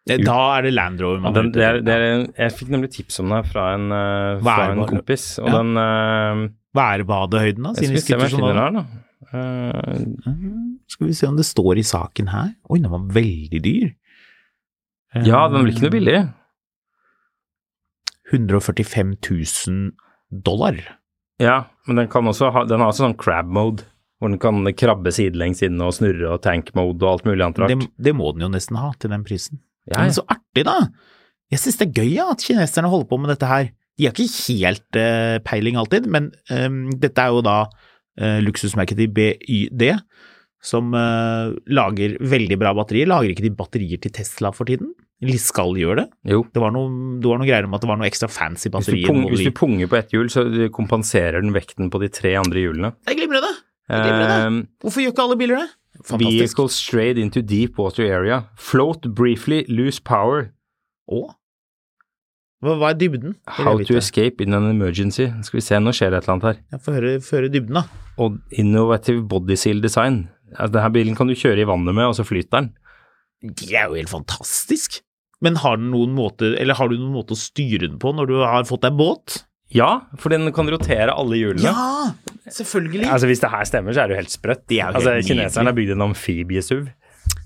Speaker 6: Eh, Da er det Land Rover
Speaker 5: Ja,
Speaker 6: man
Speaker 5: den,
Speaker 6: er ute
Speaker 5: det er,
Speaker 6: etter.
Speaker 5: det er, jeg fikk nemlig tips om det her fra en, eh,
Speaker 6: Hva er
Speaker 5: fra
Speaker 6: det
Speaker 5: en
Speaker 6: bare-
Speaker 5: kompis, og
Speaker 6: Ja.
Speaker 5: den eh,
Speaker 6: Hva er badehøyden, da?
Speaker 5: Jeg
Speaker 6: Siden
Speaker 5: skal
Speaker 6: vi
Speaker 5: se om jeg
Speaker 6: sitter sånn
Speaker 5: finner
Speaker 6: nå.
Speaker 5: den her, da. Eh,
Speaker 6: Mhm. Skal vi se om det står i saken her. Oi, den var veldig dyr.
Speaker 5: ja, den blir ikke noe billig.
Speaker 6: 145 000 Eh, dollar.
Speaker 5: Ja, men den, kan også ha, den har også sånn crab mode, hvor den kan krabbe sidelengs inne og snurre og tank mode og alt mulig annet
Speaker 6: Det,
Speaker 5: rart.
Speaker 6: det må den jo nesten ha til den prisen.
Speaker 5: Ja,
Speaker 6: Men så artig, da! Jeg syns det er gøy ja, at kineserne holder på med dette her. De har ikke helt eh, peiling alltid, men ehm, dette er jo da eh, luksusmerket til BYD, som eh, lager veldig bra batterier. Lager ikke de batterier til Tesla for tiden? Eller skal de gjøre det?
Speaker 5: Jo. Altså,
Speaker 6: Det var noe, det var noe greier om at det var noe ekstra fancy
Speaker 5: Hvis du,
Speaker 6: batterier.
Speaker 5: pung,
Speaker 6: må
Speaker 5: hvis
Speaker 6: bli-
Speaker 5: du punger på ett hjul, så kompenserer den vekten på de tre andre hjulene.
Speaker 6: Det er glimrende! Det er
Speaker 5: Eh,
Speaker 6: glimrende. Hvorfor gjør ikke alle biler det? Fantastisk.
Speaker 5: Vehicles strayed into deep water area. Float briefly, lose power.
Speaker 6: Å? Hva, hva er dybden? Det vil jeg
Speaker 5: How to
Speaker 6: vite.
Speaker 5: escape in an emergency. Skal vi se, nå skjer det et eller annet her.
Speaker 6: Ja, Få høre, få høre dybden, da.
Speaker 5: Og innovative bodyseal design. Altså, denne bilen kan du kjøre i vannet med, og så flyter den.
Speaker 6: Det er jo helt fantastisk. Men har, den noen måte, eller har du noen måte å styre den på når du har fått deg båt?
Speaker 5: Ja, for den kan rotere alle hjulene.
Speaker 6: selvfølgelig.
Speaker 5: Altså, hvis det her stemmer, så er det jo helt sprøtt.
Speaker 6: Det er jo helt
Speaker 5: altså,
Speaker 6: nydelig.
Speaker 5: kineserne har bygd en amfibiesuv.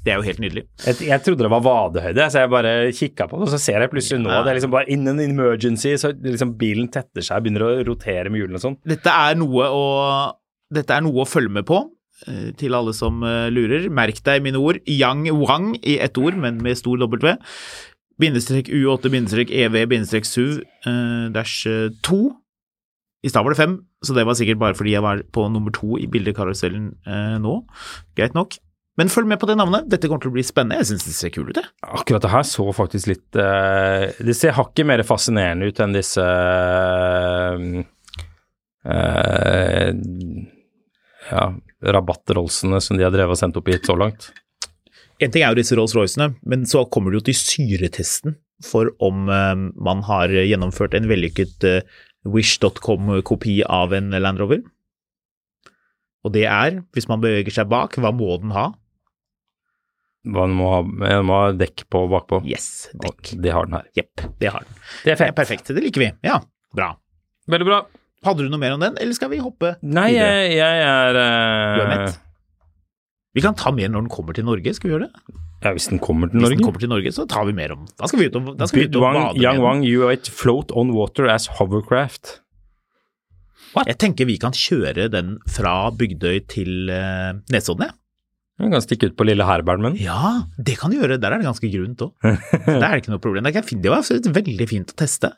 Speaker 6: Det er jo helt nydelig.
Speaker 5: Jeg, jeg trodde det var vadehøyde, så jeg bare kikka på det, og så ser jeg plutselig nå
Speaker 6: Ja.
Speaker 5: det er liksom bare in an emergency, så liksom bilen tetter seg, begynner å rotere med hjulene og sånn.
Speaker 6: Dette er noe å, dette er noe å følge med på. eh, Til alle som eh, lurer, merk deg mine ord. Yang Wang i ett ord, men med stor W. Bindestrek U8, bindestrek EV, bindestrek SUV, eh, dash eh, 2. I stad var det 5, så det var sikkert bare fordi jeg var på nummer 2 i bildekarusellen eh, nå. Greit nok. Men følg med på det navnet, dette kommer til å bli spennende. Jeg syns det ser kult ut, jeg.
Speaker 5: Akkurat det her så faktisk litt eh, Det ser hakket mer fascinerende ut enn disse eh, eh, ja, rabattrollsene som de har drevet og sendt opp hit så langt.
Speaker 6: En ting er jo disse Rolls-Roycene, men så kommer det jo til syretesten for om eh, man har gjennomført en vellykket eh, wish.com-kopi av en Land Rover. Og det er, hvis man beveger seg bak, hva må den ha?
Speaker 5: Man må ha, man må ha dekk på bakpå.
Speaker 6: Yes,
Speaker 5: Og
Speaker 6: dekk.
Speaker 5: Det har den her.
Speaker 6: Jepp, det har den.
Speaker 5: Det er
Speaker 6: Det er
Speaker 5: fett.
Speaker 6: perfekt. Det liker vi. Ja, bra.
Speaker 5: Veldig bra.
Speaker 6: Hadde du noe mer om den, eller skal vi hoppe
Speaker 5: Nei,
Speaker 6: videre?
Speaker 5: jeg, jeg er eh,
Speaker 6: Du er mett? Vi kan ta mer når den kommer til Norge, skal vi gjøre det?
Speaker 5: Ja, hvis den kommer til
Speaker 6: Hvis den
Speaker 5: Norge.
Speaker 6: kommer til Norge, så tar vi mer om den. Da skal vi ut og, da skal vi
Speaker 5: Bid
Speaker 6: ut og
Speaker 5: Wang,
Speaker 6: bade
Speaker 5: Yang
Speaker 6: med den.
Speaker 5: Wang, you it float on water as hovercraft.
Speaker 6: Jeg tenker vi kan kjøre den fra Bygdøy til eh, Nesodden, jeg.
Speaker 5: Den kan stikke ut på lille herbergen min.
Speaker 6: Ja, det kan du gjøre. Der er det ganske grunt òg. Der er det ikke noe problem. Det, er ikke- det var absolutt veldig fint å teste.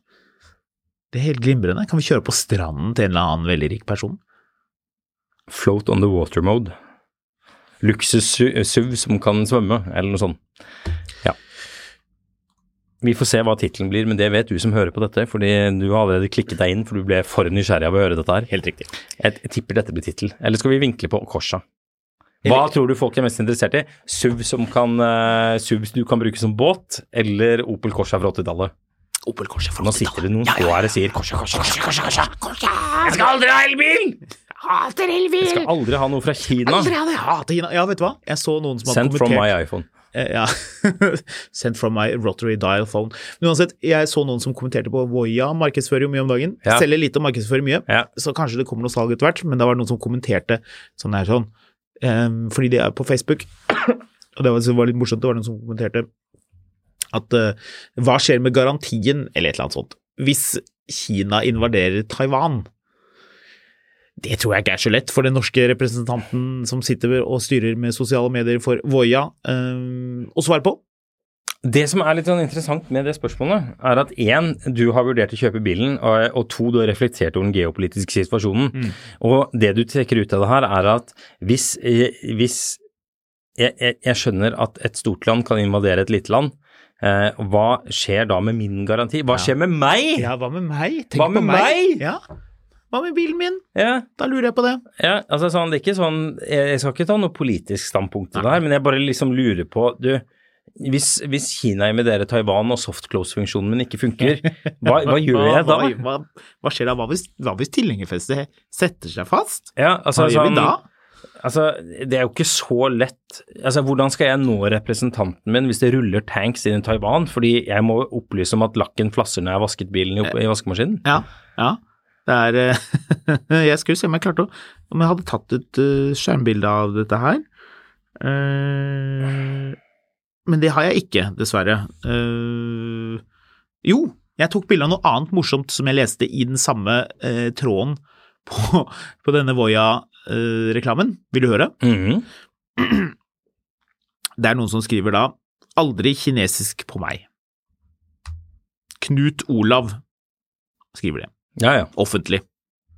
Speaker 6: Det er helt glimrende. Kan vi kjøre på stranden til en eller annen veldig rik person?
Speaker 5: Float on the water mode. Luksus-SUV som kan svømme, eller noe sånt. Ja. Vi får se hva tittelen blir, men det vet du som hører på dette, fordi du har allerede klikket deg inn, for du ble for nysgjerrig av å høre dette her.
Speaker 6: Helt riktig.
Speaker 5: Jeg, jeg tipper dette blir tittel. Eller skal vi vinkle på korsa? Hva tror du folk er mest interessert i? SUV som kan, eh, SUV du kan bruke som båt, eller Opel Corsa fra 80-tallet?
Speaker 6: Opel Corsa fra
Speaker 5: Nå sitter det noen få her og sier Corsa, Corsa, Corsa, Corsa, Corsa.
Speaker 6: Jeg skal aldri ha elbil! Jeg hater elbil!
Speaker 5: Jeg skal aldri ha noe fra Kina.
Speaker 6: Aldri ha det! Jeg hater Kina. Ja, vet du hva? Jeg så noen som hadde
Speaker 5: Sent from
Speaker 6: kommentert
Speaker 5: my iPhone.
Speaker 6: Eh, Ja. *laughs* Sent from my rotary dial phone. Men uansett, jeg så noen som kommenterte på Voya markedsfører jo mye om dagen.
Speaker 5: Ja.
Speaker 6: Selger lite og markedsfører mye.
Speaker 5: Ja.
Speaker 6: Så kanskje det kommer noe salg etter hvert, men da var det noen som kommenterte sånn her sånn. Ehm, fordi de er på Facebook, *coughs* og det var, så var det litt morsomt, det var noen som kommenterte at eh, hva skjer med garantien, eller et eller annet sånt, hvis Kina invaderer Taiwan? Det tror jeg ikke er så lett for den norske representanten som sitter og styrer med sosiale medier for Voya, eh, å svare på.
Speaker 5: Det som er litt sånn interessant med det spørsmålet, er at én, du har vurdert å kjøpe bilen, og og to, du har reflektert over den geopolitiske situasjonen. Og det du trekker ut av det her, er at hvis, eh, hvis jeg, jeg, jeg skjønner at et stort land kan invadere et lite land, eh, hva skjer da med min garanti? Hva skjer med meg? Ja,
Speaker 6: *laughs* Ja, hva med meg?
Speaker 5: Hva med
Speaker 6: på
Speaker 5: meg?
Speaker 6: Ja. Hva med bilen min?
Speaker 5: ja,
Speaker 6: Da lurer jeg på det.
Speaker 5: altså sånn, det er ikke sånn Jeg jeg skal ikke ta noe politisk standpunkt til det her, men jeg bare liksom lurer på Du, hvis, hvis Kina invaderer Taiwan og softclose-funksjonen min ikke funker, hva,
Speaker 6: *laughs*
Speaker 5: hva gjør jeg da?
Speaker 6: Hva, hva, hva skjer da? Hva hvis, hva hvis tilhengerfestet setter seg fast?
Speaker 5: Ja, altså,
Speaker 6: Hva gjør
Speaker 5: sånn-
Speaker 6: vi da?
Speaker 5: Altså, det er jo ikke så lett Altså, hvordan skal jeg nå representanten min hvis det ruller tanks inn i Taiwan? Fordi jeg må opplyse om at lakken flasser når jeg har vasket bilen i, opp- i vaskemaskinen.
Speaker 6: Ja, ja. Det er eh, *laughs* Jeg skulle se om jeg klarte å Om jeg hadde tatt et eh, skjermbilde av dette her. Eh, men det har jeg ikke, dessverre. Eh, jo, jeg tok bilde av noe annet morsomt som jeg leste i den samme eh, tråden på, på denne Voya-reklamen. Vil du høre?
Speaker 5: Mhm.
Speaker 6: Det er noen som skriver da Aldri kinesisk på meg. Knut Olav skriver det,
Speaker 5: Ja, ja.
Speaker 6: offentlig,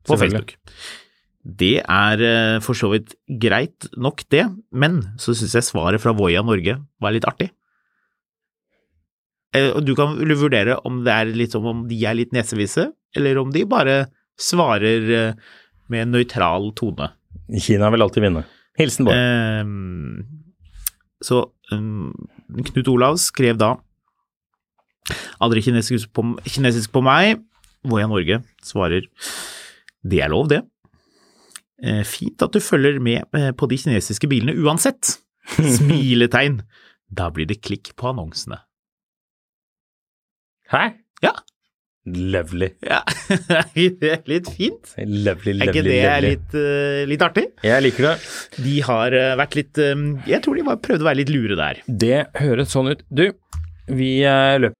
Speaker 6: på
Speaker 5: Selvfølgelig.
Speaker 6: Facebook. Det er eh, for så vidt greit nok, det, men så syns jeg svaret fra Voya Norge var litt artig. Eh, og Du kan vel vurdere om, det er litt som om de er litt nesevise, eller om de bare svarer eh, med en nøytral tone.
Speaker 5: Kina vil alltid vinne. Hilsen
Speaker 6: Eh,
Speaker 5: Bård.
Speaker 6: Ehm, så ehm, Knut Olav skrev da Aldri kinesisk på, kinesisk på meg. Voya Norge svarer Det er lov, det. Eh, Fint at du følger med eh, på de kinesiske bilene uansett. Smiletegn. Da blir det klikk på annonsene.
Speaker 5: Hæ?
Speaker 6: Ja.
Speaker 5: Lovely.
Speaker 6: Ja, det *laughs* er litt fint.
Speaker 5: Lovely,
Speaker 6: Er
Speaker 5: lovely,
Speaker 6: ikke det
Speaker 5: lovely.
Speaker 6: litt, eh, litt artig?
Speaker 5: Jeg liker det.
Speaker 6: De har eh, vært litt eh, Jeg tror de var, prøvde å være litt lure der.
Speaker 5: Det høres sånn ut. Du, vi eh, løper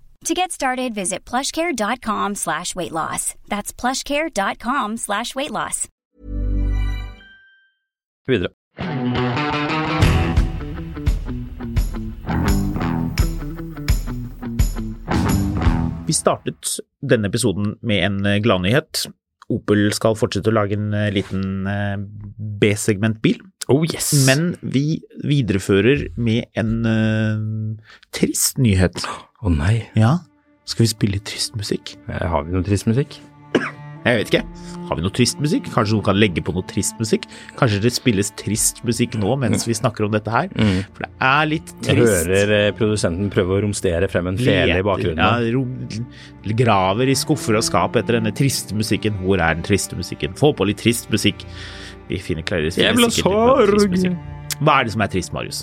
Speaker 7: To get started, visit plushcare.com slash weight loss. That's plushcare.com slash weight loss.
Speaker 5: Videre.
Speaker 6: Vi startet denne episoden med en eh, gladnyhet. Opel skal fortsette å lage en eh, liten eh, B-segmentbil,
Speaker 5: Oh yes!
Speaker 6: men vi viderefører med en eh, trist nyhet.
Speaker 5: Å nei,
Speaker 6: *gasps* Ja, skal vi spille trist musikk?
Speaker 5: Eh, har vi noe trist musikk?
Speaker 6: Jeg vet ikke. Har vi noe trist musikk? Kanskje noen kan legge på noe trist musikk? Kanskje det spilles trist musikk nå mens vi snakker om dette her? For det er litt
Speaker 5: Jeg
Speaker 6: trist.
Speaker 5: hører eh, produsenten prøve å romstere frem en fele i bakgrunnen.
Speaker 6: Ja, ro- graver i skuffer og skap etter denne triste musikken. Hvor er den triste musikken? Få på litt trist musikk. Vi finner klarer finner
Speaker 5: Jeg vil ha
Speaker 6: sikkert noe trist
Speaker 5: sorg.
Speaker 6: musikk. Hva er det som er trist, Marius?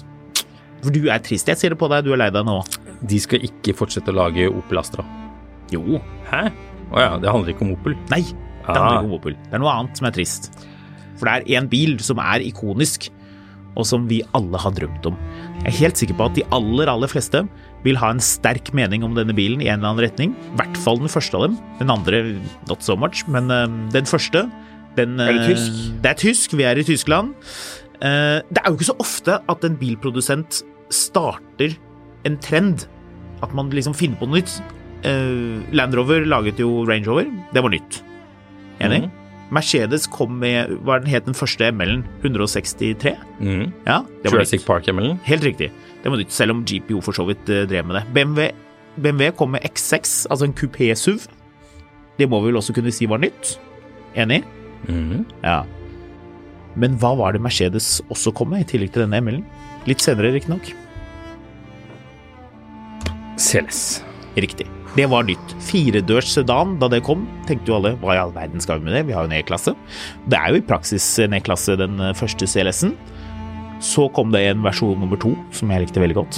Speaker 6: For du er trist. Jeg ser det på deg, du er lei deg nå.
Speaker 5: De skal ikke fortsette å lage Opel Astra.
Speaker 6: Jo.
Speaker 5: Hæ? Å ja, det handler ikke om Opel.
Speaker 6: Nei, det
Speaker 5: Ah.
Speaker 6: handler ikke om Opel. Det er noe annet som er trist. For det er én bil som er ikonisk, og som vi alle har drømt om. Jeg er helt sikker på at de aller, aller fleste vil ha en sterk mening om denne bilen i en eller annen retning. I hvert fall den første av dem. Den andre not so much, men eh, den første den,
Speaker 5: Er det
Speaker 6: eh,
Speaker 5: tysk?
Speaker 6: Det er tysk. Vi er i Tyskland. Eh, det er jo ikke så ofte at en bilprodusent starter en trend. At man liksom finner på noe nytt. Eh, Land Rover laget jo Range Rover. Det var nytt. Enig?
Speaker 5: Mhm.
Speaker 6: Mercedes kom med hva er den het den første ML-en? 163?
Speaker 5: Mm.
Speaker 6: Ja, det var
Speaker 5: Jurassic
Speaker 6: nytt.
Speaker 5: Park-emmelen.
Speaker 6: Helt riktig. Det var nytt, selv om Jeep jo for så vidt eh, drev med det. BMW, BMW kom med X6, altså en kupé-SUV. Det må vi vel også kunne si var nytt. Enig?
Speaker 5: Mm.
Speaker 6: Ja. Men hva var det Mercedes også kom med, i tillegg til denne ML-en? Litt senere, riktignok.
Speaker 5: CLS.
Speaker 6: Riktig. Det var nytt. Firedørs sedan da det kom, tenkte jo alle hva i all verden skal vi med det, vi har jo en E-klasse. Det er jo i praksis en E-klasse, den eh, første CLS-en. Så kom det en versjon nummer to, som jeg likte veldig godt.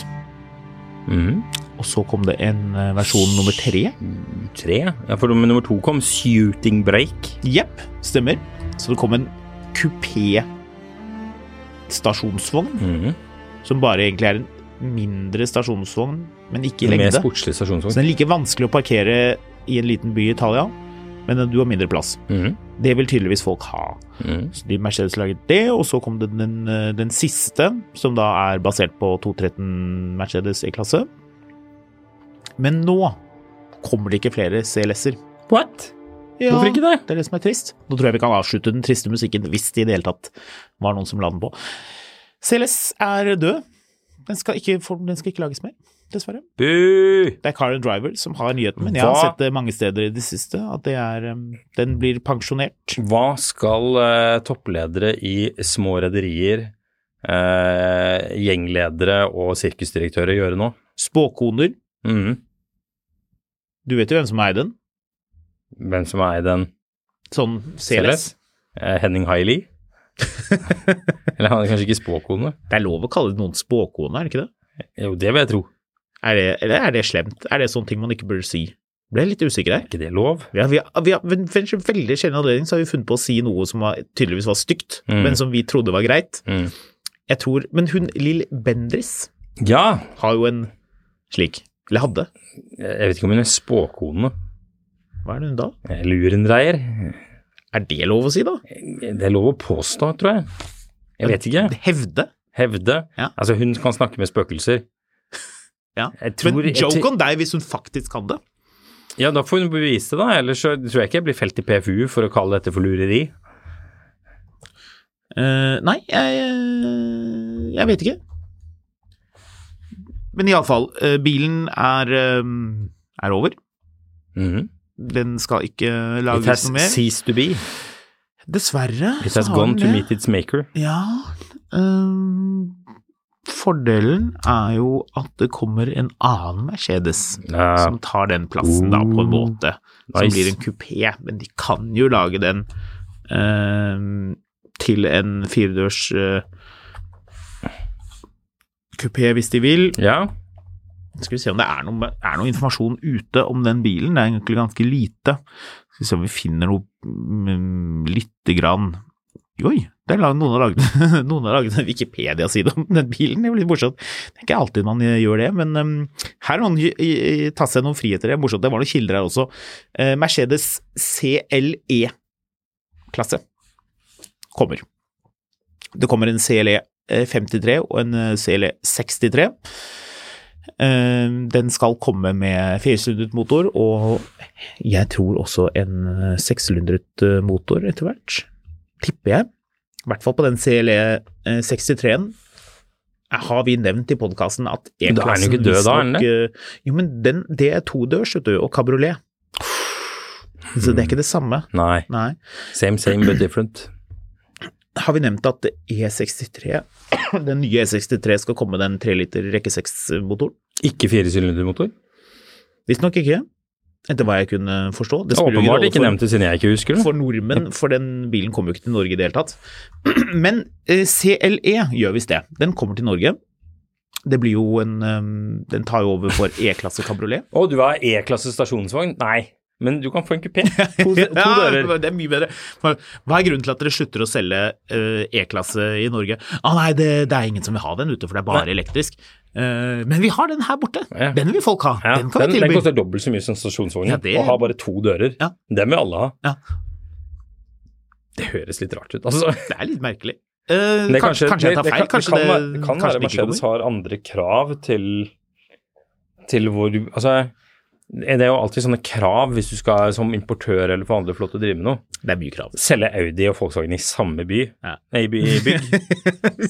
Speaker 5: Mm.
Speaker 6: Og så kom det en eh, versjon nummer tre.
Speaker 5: Tre? Ja, for nummer nummer to kom Shooting Break.
Speaker 6: Jepp, stemmer. Så det kom en kupé-stasjonsvogn,
Speaker 5: Mm.
Speaker 6: som bare egentlig er en mindre stasjonsvogn, men ikke i
Speaker 5: Med
Speaker 6: lengde.
Speaker 5: sportslig
Speaker 6: Så
Speaker 5: stasjonsvogn.
Speaker 6: den er like vanskelig å parkere i en liten by i Italia, men du har mindre plass.
Speaker 5: Mm.
Speaker 6: Det vil tydeligvis folk ha.
Speaker 5: Mm.
Speaker 6: Så de Mercedes laget det, og så kom det den, eh, den siste, som da er basert på 213 Mercedes E-klasse. Men nå kommer det ikke flere CLS-er.
Speaker 5: What?
Speaker 6: Ja,
Speaker 5: Hvorfor ikke det?
Speaker 6: Det er det som er trist. Nå tror jeg vi kan avslutte den triste musikken, hvis det i det hele tatt var noen som la den på. CLS er død. Den skal ikke, for- den skal ikke lages mer, dessverre.
Speaker 5: Bu!
Speaker 6: Det er Car and Driver som har nyheten, men jeg har
Speaker 5: Hva?
Speaker 6: sett det mange steder i det siste, at det er, eh, den blir pensjonert.
Speaker 5: Hva skal eh, toppledere i små rederier, eh, gjengledere og sirkusdirektører gjøre nå?
Speaker 6: Spåkoner,
Speaker 5: Mm.
Speaker 6: du vet jo hvem som eier den?
Speaker 5: Hvem som er i den?
Speaker 6: Sånn CLS.
Speaker 5: Eh, Henning *laughs* Haili? Eller han er kanskje ikke spåkone?
Speaker 6: Det er lov å kalle noen spåkone, er det ikke det?
Speaker 5: Jo, det vil jeg tro.
Speaker 6: Er det, eller er det slemt? Er det sånne ting man ikke burde si? Ble litt usikker her.
Speaker 5: Er ikke det lov?
Speaker 6: Ja, vi har, vi har, ved en veldig sjelden anledning så har vi funnet på å si noe som var, tydeligvis var stygt,
Speaker 5: Mm.
Speaker 6: men som vi trodde var greit.
Speaker 5: Mm.
Speaker 6: Jeg tror, Men hun Lill Bendris
Speaker 5: Ja!
Speaker 6: har jo en slik. Eller hadde.
Speaker 5: Jeg vet ikke om hun er spåkone.
Speaker 6: Hva er det hun da?
Speaker 5: Eh, Lurenreier.
Speaker 6: Er det lov å si, da?
Speaker 5: Det er lov å påstå, tror jeg. Jeg vet ikke.
Speaker 6: Hevde?
Speaker 5: Hevde.
Speaker 6: Ja.
Speaker 5: Altså, hun kan snakke med spøkelser.
Speaker 6: Ja.
Speaker 5: Jeg tror-
Speaker 6: men
Speaker 5: jeg
Speaker 6: joke
Speaker 5: tror-
Speaker 6: on deg hvis hun faktisk kan det.
Speaker 5: Ja, da får hun bevise det, da. Ellers så tror jeg ikke jeg blir felt i PFU for å kalle dette for lureri.
Speaker 6: Eh, nei, jeg, eh, jeg vet ikke. Men iallfall, uh, bilen er, eh, er over.
Speaker 5: Mhm.
Speaker 6: Den skal ikke
Speaker 5: It
Speaker 6: lages
Speaker 5: has
Speaker 6: noe mer.
Speaker 5: ceased to be.
Speaker 6: Dessverre.
Speaker 5: It
Speaker 6: så
Speaker 5: has
Speaker 6: har
Speaker 5: gone to
Speaker 6: den det.
Speaker 5: meet its maker.
Speaker 6: Ja ehm, Fordelen er jo at det kommer en annen Mercedes
Speaker 5: Ja. Oh,
Speaker 6: som tar den plassen da på en måte. Som
Speaker 5: nice.
Speaker 6: blir en kupé, men de kan jo lage den ehm, til en firedørs eh, kupé hvis de vil.
Speaker 5: Ja.
Speaker 6: Skal vi se om det er noe, er noe informasjon ute om den bilen. Det er egentlig ganske lite. Skal vi se om vi finner noe mm, lite grann Oi, det er lag- noen har laget, *laughs* noen har laget en Wikipedia-side om den bilen. Det blir morsomt. Det er ikke alltid man gjør det, men mm, her har noen i- i- tatt seg noen friheter. Det er morsomt. Det var noen kilder her også. Eh, Mercedes E CLE-klasse kommer. Det kommer en CLE 53 eh, og en eh, CLE 63. Eh, Den skal komme med firesylindret motor, og jeg tror også en eh, sekssylindret eh, motor etter hvert. Tipper jeg. I hvert fall på den CLE eh, 63-en. Eh, Har vi nevnt i podkasten at
Speaker 5: Men da er den jo ikke død da, er den
Speaker 6: visstnok, eh, Jo, men den, det er todørs, vet du, og kabriolet. Så det er ikke det samme.
Speaker 5: Nei.
Speaker 6: Nei.
Speaker 5: Same, same, but different.
Speaker 6: har vi nevnt at E63, den nye E63 skal komme med den 3 liter rekke 6-motoren?
Speaker 5: Ikke firesylindermotor?
Speaker 6: Visstnok ikke, etter hva jeg kunne forstå. Det spiller jo ingen
Speaker 5: Åpenbart
Speaker 6: rolle
Speaker 5: ikke nevnt det siden jeg ikke husker
Speaker 6: for,
Speaker 5: det.
Speaker 6: for nordmenn, for den bilen kommer jo ikke til Norge i det hele tatt. *clears throat* Men eh, CLE gjør visst det. Den kommer til Norge. Det blir jo en eh, Den tar jo over for E-klasse kabriolet.
Speaker 5: Å, du har E-klasse stasjonsvogn? Nei. Men du kan få en *laughs* kupé. To, to dører.
Speaker 6: Ja, det er mye bedre. Hva er grunnen til at dere slutter å selge eh, E-klasse i Norge? ah, nei, det, det er ingen som vil ha den ute, for det er bare elektrisk. Eh, men vi har den her borte.
Speaker 5: Ja.
Speaker 6: Den vil folk ha.
Speaker 5: Ja,
Speaker 6: den kan
Speaker 5: den,
Speaker 6: vi
Speaker 5: den
Speaker 6: tilby.
Speaker 5: koster dobbelt så mye som stasjonsvognen,
Speaker 6: Ja, det-
Speaker 5: og har bare to dører.
Speaker 6: Ja.
Speaker 5: Den vil alle ha.
Speaker 6: Ja.
Speaker 5: Det høres litt rart ut, altså.
Speaker 6: *laughs* Det er litt merkelig. Eh,
Speaker 5: Det er
Speaker 6: kanskje, kanskje jeg tar
Speaker 5: det- det
Speaker 6: feil.
Speaker 5: kan-
Speaker 6: Kanskje
Speaker 5: det
Speaker 6: det,
Speaker 5: kan, være- det kan
Speaker 6: kanskje
Speaker 5: være
Speaker 6: det ikke
Speaker 5: Mercedes
Speaker 6: kommer.
Speaker 5: har andre krav til, til hvor Altså, det er jo alltid sånne krav hvis du skal som importør eller for andre få lov til å drive med noe.
Speaker 6: Det er mye krav.
Speaker 5: Selge Audi og Volkswagen i samme by.
Speaker 6: Ja.
Speaker 5: Nei, by,
Speaker 6: *laughs*
Speaker 5: *laughs* bygg.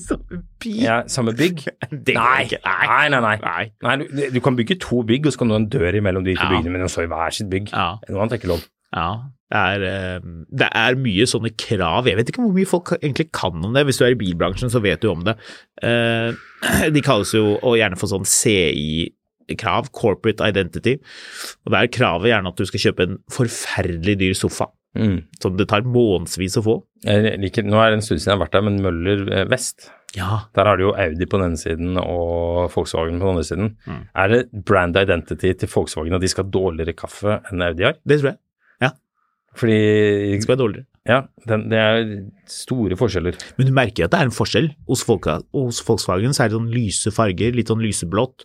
Speaker 6: Samme bil.
Speaker 5: Ja, samme bygg.
Speaker 6: Det går
Speaker 5: Nei.
Speaker 6: ikke.
Speaker 5: Nei, nei, nei.
Speaker 6: Nei.
Speaker 5: Nei, du, du kan bygge to bygg, og så kan du ha en dør imellom de to
Speaker 6: Ja.
Speaker 5: byggene, men så i hver sitt bygg.
Speaker 6: Ja.
Speaker 5: Noe annet er ikke lov.
Speaker 6: Ja, det er, eh, det er mye sånne krav. Jeg vet ikke hvor mye folk egentlig kan om det. Hvis du er i bilbransjen, så vet du om det. Eh, *clears throat* De kalles jo og gjerne for sånn CI-krav, corporate identity. Og der er kravet gjerne at du skal kjøpe en forferdelig dyr sofa,
Speaker 5: Mm.
Speaker 6: som det tar månedsvis å få.
Speaker 5: Jeg liker, nå er det en stund siden jeg har vært der, men Møller eh, Vest
Speaker 6: Ja,
Speaker 5: Der har du jo Audi på den ene siden og Volkswagen på den andre siden.
Speaker 6: Mm.
Speaker 5: Er det brand identity til Volkswagen at de skal ha dårligere kaffe enn Audi har?
Speaker 6: det tror jeg.
Speaker 5: Fordi
Speaker 6: Det skal være dårligere.
Speaker 5: ja, den, det er store forskjeller.
Speaker 6: Men du merker at det er en forskjell. Hos, folka, hos Volkswagen så er det sånn lyse farger, litt sånn lyseblått,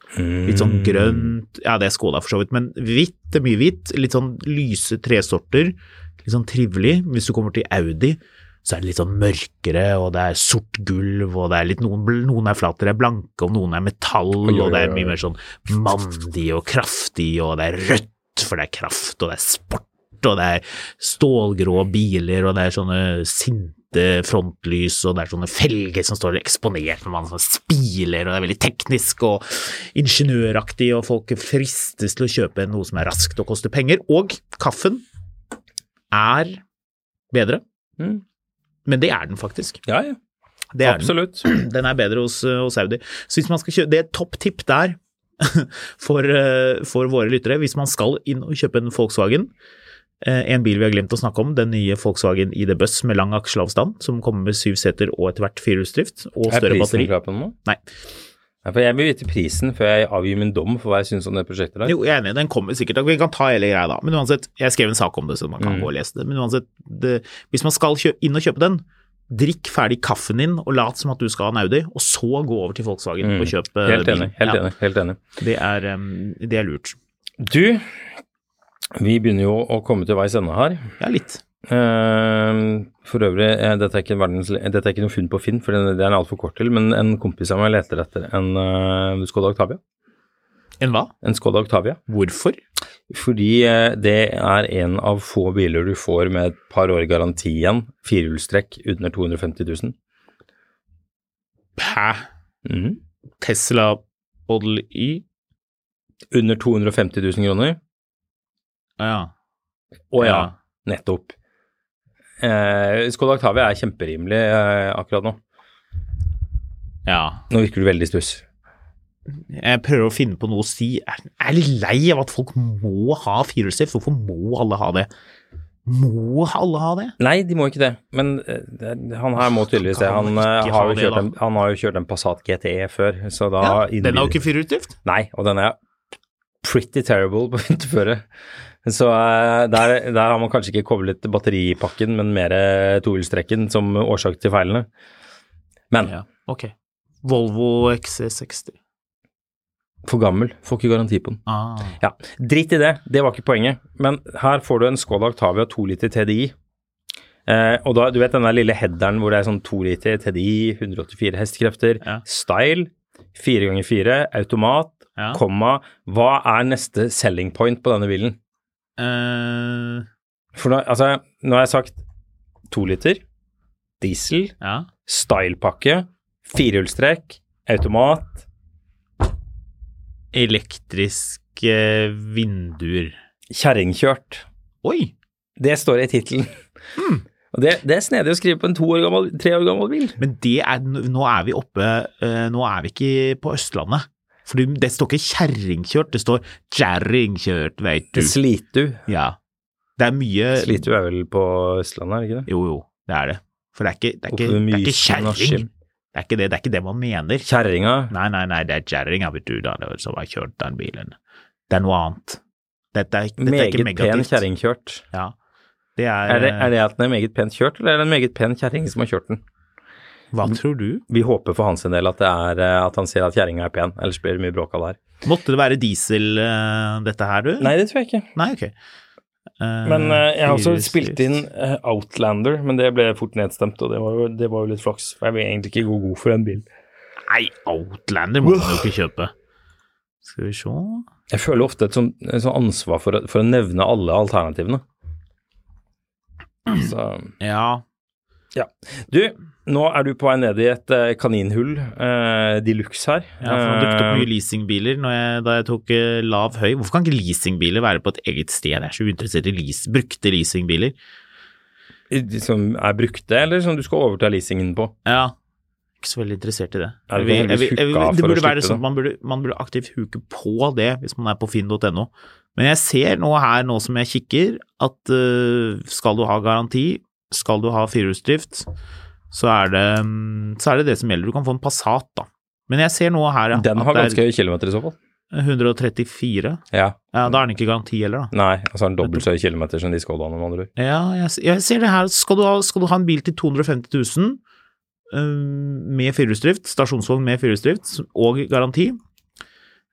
Speaker 5: Mm.
Speaker 6: litt sånn grønt Ja, det er Skoda for så vidt, men hvitt, det er mye hvitt. Litt sånn lyse tresorter. Litt sånn trivelig. Hvis du kommer til Audi, så er det litt sånn mørkere, og det er sort gulv, og det er litt noen, bl- noen er flatere, blanke, og noen er metall,
Speaker 5: Oi, oi,
Speaker 6: og det
Speaker 5: oi,
Speaker 6: er
Speaker 5: oi.
Speaker 6: mye mer sånn mandig og kraftig, og det er rødt, for det er kraft, og det er sport. Og det er stålgrå biler, og det er sånne sinte frontlys, og det er sånne felger som står eksponert når man sånn spiler, og det er veldig teknisk og ingeniøraktig, og folk fristes til å kjøpe noe som er raskt og koster penger. Og kaffen er bedre,
Speaker 5: Mm.
Speaker 6: men det er den faktisk.
Speaker 5: Ja, ja.
Speaker 6: Det er den.
Speaker 5: Absolutt.
Speaker 6: *clears throat* Den er bedre hos, eh, hos Audi. Så hvis man skal kjøpe, Det er et topp tipp der *laughs* for, eh, for våre lyttere. Hvis man skal inn og kjøpe en Volkswagen, eh, en bil vi har glemt å snakke om, den nye Volkswagen ID Buss med lang aksjeavstand, som kommer med syv seter og etter hvert firehjulsdrift, og
Speaker 5: Er
Speaker 6: større
Speaker 5: prisen
Speaker 6: batteri.
Speaker 5: klar på den nå?
Speaker 6: Nei.
Speaker 5: Nei, for jeg vil vite prisen før jeg avgir min dom for hva jeg syns om det prosjektet der.
Speaker 6: Jo, jeg er enig, den kommer sikkert. Vi kan ta hele greia da. Men uansett, jeg skrev en sak om det, så man kan
Speaker 5: Mm.
Speaker 6: gå og lese det. Men uansett, det, hvis man skal kjø inn og kjøpe den, drikk ferdig kaffen din og lat som at du skal ha en Audi, og så gå over til Volkswagen
Speaker 5: Mm.
Speaker 6: og kjøpe eh,
Speaker 5: Helt enig,
Speaker 6: bilen.
Speaker 5: helt
Speaker 6: Ja.
Speaker 5: enig, helt enig.
Speaker 6: Det er, em, det er lurt.
Speaker 5: Du, vi begynner jo å komme til veis ende her.
Speaker 6: Ja, litt.
Speaker 5: Ehm, for øvrig, eh, dette er ikke, verdens, dette er ikke noe funn på Finn, for den, det er den altfor kort til, men en kompis av meg leter etter en eh, Skoda Octavia.
Speaker 6: En hva?
Speaker 5: En Skoda Octavia.
Speaker 6: Hvorfor?
Speaker 5: Fordi eh, det er en av få biler du får med et par år garanti igjen, firehjulstrekk under 250 000.
Speaker 6: Hæ?
Speaker 5: Mhm.
Speaker 6: Tesla Model Y?
Speaker 5: Under 250 000 kroner.
Speaker 6: Å ja.
Speaker 5: Å ja, nettopp. Eh, Skoda Octavia er kjemperimelig eh, akkurat nå.
Speaker 6: Ja.
Speaker 5: Nå virker du veldig stuss.
Speaker 6: Jeg prøver å finne på noe å si. Jeg er litt lei av at folk må ha firehjulstreff. Hvorfor må alle ha det? Må alle ha det?
Speaker 5: Nei, de må ikke det, men eh, det- han her må tydeligvis det. Han,
Speaker 6: Kan han
Speaker 5: eh,
Speaker 6: ikke
Speaker 5: har
Speaker 6: ha
Speaker 5: jo
Speaker 6: det,
Speaker 5: kjørt en,
Speaker 6: da?
Speaker 5: han har jo kjørt en Passat GTE før, så da
Speaker 6: Den er jo ikke firehjulstreff.
Speaker 5: Nei, og den er pretty terrible på vinterføre. Så eh, der, der har man kanskje ikke koblet batteripakken, men mer eh, tohjulstrekken som årsak til feilene. Men
Speaker 6: Ja, ok. Volvo E XC60.
Speaker 5: for gammel, får ikke garanti på den.
Speaker 6: Ah.
Speaker 5: Ja, Drit i det, det var ikke poenget. Men her får du en Skoda Octavia 2 liter TDI. Eh, og da, du vet den der lille headeren hvor det er sånn 2 liter TDI, 184 hestekrefter,
Speaker 6: Ja.
Speaker 5: style, 4 ganger 4 automat,
Speaker 6: Ja.
Speaker 5: komma. Hva er neste selling point på denne bilen?
Speaker 6: Eh,
Speaker 5: For nå, altså, nå har jeg sagt 2 liter, diesel,
Speaker 6: ja.
Speaker 5: stylepakke, firehjulstrekk, automat,
Speaker 6: Elektriske vinduer.
Speaker 5: kjerringkjørt.
Speaker 6: Oi!
Speaker 5: Det står i tittelen. Og det, det er snedig å skrive på en to år gammel, tre år gammel bil.
Speaker 6: Men det er, nå er vi oppe eh, Nå er vi ikke på Østlandet. For det står ikke kjerringkjørt, det står kjerringkjørt, veit du.
Speaker 5: Det Slitu.
Speaker 6: Ja. Det er mye
Speaker 5: Slitu er vel på Østlandet, er det ikke det?
Speaker 6: Jo, jo, det er det. For det er ikke, det er
Speaker 5: Oppe ved
Speaker 6: ikke, det er ikke
Speaker 5: Mysen og Askim.
Speaker 6: kjerring. Det er ikke det, det er ikke det man mener.
Speaker 5: Kjerringa.
Speaker 6: Nei, nei, nei, det er kjerringa, vet du, da, det var som har kjørt den bilen. Det er noe annet. Dette er, dette er
Speaker 5: Meget
Speaker 6: ikke
Speaker 5: pen
Speaker 6: megativt.
Speaker 5: kjerringkjørt.
Speaker 6: Ja. Det er,
Speaker 5: Er det, er det at den er meget pent kjørt, eller er det en meget pen kjerring som har kjørt den?
Speaker 6: eh, Hva tror du?
Speaker 5: Vi håper for hans en del at, det er, eh, at han ser at kjerringa er pen, ellers blir det mye bråk av det her.
Speaker 6: Måtte det være diesel, eh, dette her, du?
Speaker 5: Nei, det tror jeg ikke.
Speaker 6: Nei, ok. Eh,
Speaker 5: Men eh, jeg har også
Speaker 6: firehjulstreff.
Speaker 5: spilt inn eh, Outlander, men det ble fort nedstemt, og det var jo, det var jo litt flaks. For jeg vil egentlig ikke gå god for en bil.
Speaker 6: Nei, Outlander må man jo ikke kjøpe. Skal vi se
Speaker 5: Jeg føler ofte et sånn et sånn ansvar for, å- for å nevne alle alternativene. Så
Speaker 6: Ja.
Speaker 5: Du, nå er du på vei ned i et eh, kaninhull uh, de luxe her.
Speaker 6: ja for det dukket opp
Speaker 5: Eh,
Speaker 6: mye leasingbiler når jeg, da jeg tok eh, lav høy. Hvorfor kan ikke leasingbiler være på et eget sted? Jeg er så uinteressert i leas- brukte leasingbiler.
Speaker 5: i- Som er brukte, eller som du skal overta leasingen på?
Speaker 6: Ja. Ikke så veldig interessert i det.
Speaker 5: Er det
Speaker 6: Jeg vil-
Speaker 5: sånn at du
Speaker 6: jeg vil- jeg vil-
Speaker 5: huker av
Speaker 6: det
Speaker 5: for å
Speaker 6: burde være
Speaker 5: slippe
Speaker 6: sånn at man burde, man burde aktivt huke på det hvis man er på finn.no. Men jeg ser nå her, nå som jeg kikker, at eh, skal du ha garanti, skal du ha firehjulsdrift, så, er det, mm, så er det det som gjelder. Du kan få en Passat, da. Men jeg ser nå her ja,
Speaker 5: Den har
Speaker 6: at
Speaker 5: ganske
Speaker 6: det er
Speaker 5: høye kilometer i så fall.
Speaker 6: 134.
Speaker 5: Ja.
Speaker 6: Ja, da er den ikke garanti heller, da.
Speaker 5: Nei, altså en dobbelt så høy kilometer som de Skodaene, med andre ord.
Speaker 6: Ja, jeg, s- jeg ser det her. Skal du ha, skal du ha en bil til 250 000 øhm, eh, med firehjulsdrift, stasjonsvogn med firehjulsdrift og garanti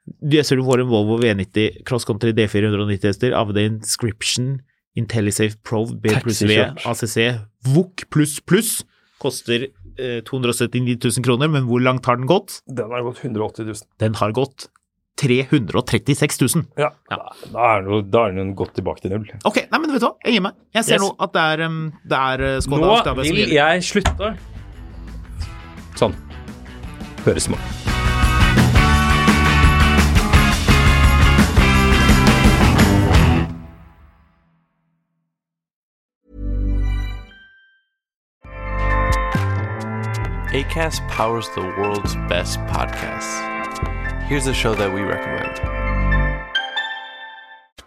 Speaker 6: Du- Jeg ser du får en Volvo V90 Cross Country D490 hester, AVD Inscription, IntelliSafe Pro, B pluss V,
Speaker 5: Taxikjørt.
Speaker 6: ACC, VOK pluss pluss. Koster eh, 279 000 kroner, men hvor langt har den gått?
Speaker 5: Den har gått 180 000.
Speaker 6: Den har gått 336 000.
Speaker 5: Ja.
Speaker 6: Ja.
Speaker 5: Da er den jo- da er den jo gått tilbake til null.
Speaker 6: Ok, nei, men vet du hva, jeg gir meg. Jeg ser
Speaker 5: Yes.
Speaker 6: nå at det er, øhm, det er eh, Skoda
Speaker 5: Nå
Speaker 6: Octavia som
Speaker 5: vil
Speaker 6: gjelder.
Speaker 5: jeg slutte. Sånn. Høres smart.
Speaker 2: ACAST powers the world's best podcasts. Here's a show that we recommend.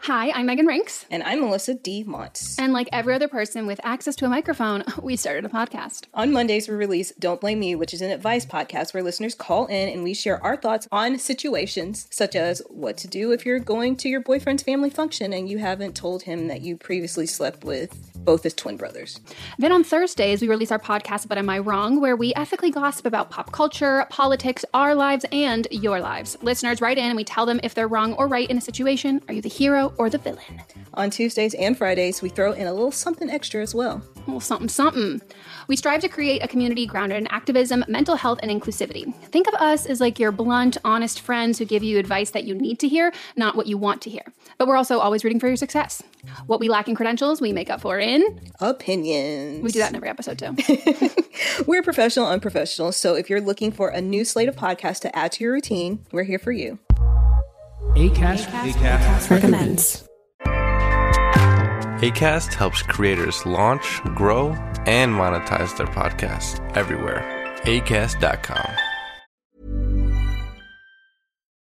Speaker 8: Hi, I'm Megan Rinks.
Speaker 9: And I'm Melissa D. Monts.
Speaker 8: And like every other person with access to a microphone, *laughs* we started a podcast.
Speaker 9: On Mondays, we release Don't Blame Me, which is an advice podcast where listeners call in and we share our thoughts on situations such as what to do if you're going to your boyfriend's family function and you haven't told him that you previously slept with both his twin brothers.
Speaker 8: Then on Thursdays, we release our podcast, But Am I Wrong?, where we ethically gossip about pop culture, politics, our lives, and your lives. Listeners write in and we tell them if they're wrong or right in a situation. Are you the hero or the villain?
Speaker 9: On Tuesdays and Fridays, we throw in a little something extra as well.
Speaker 10: A little something, something. We strive to create a community grounded in activism, mental health, and inclusivity. Think of us as like your blunt, honest friends who give you advice that you need to hear, not what you want to hear. But we're also always rooting for your success. What we lack in credentials, we make up for in.
Speaker 9: Opinions.
Speaker 10: We do that in every episode too.
Speaker 9: *laughs* We're professional, unprofessional. So if you're looking for a new slate of podcasts to add to your routine, we're here for you.
Speaker 2: ACAST helps creators launch, grow, and monetize their podcasts everywhere. ACAST.com.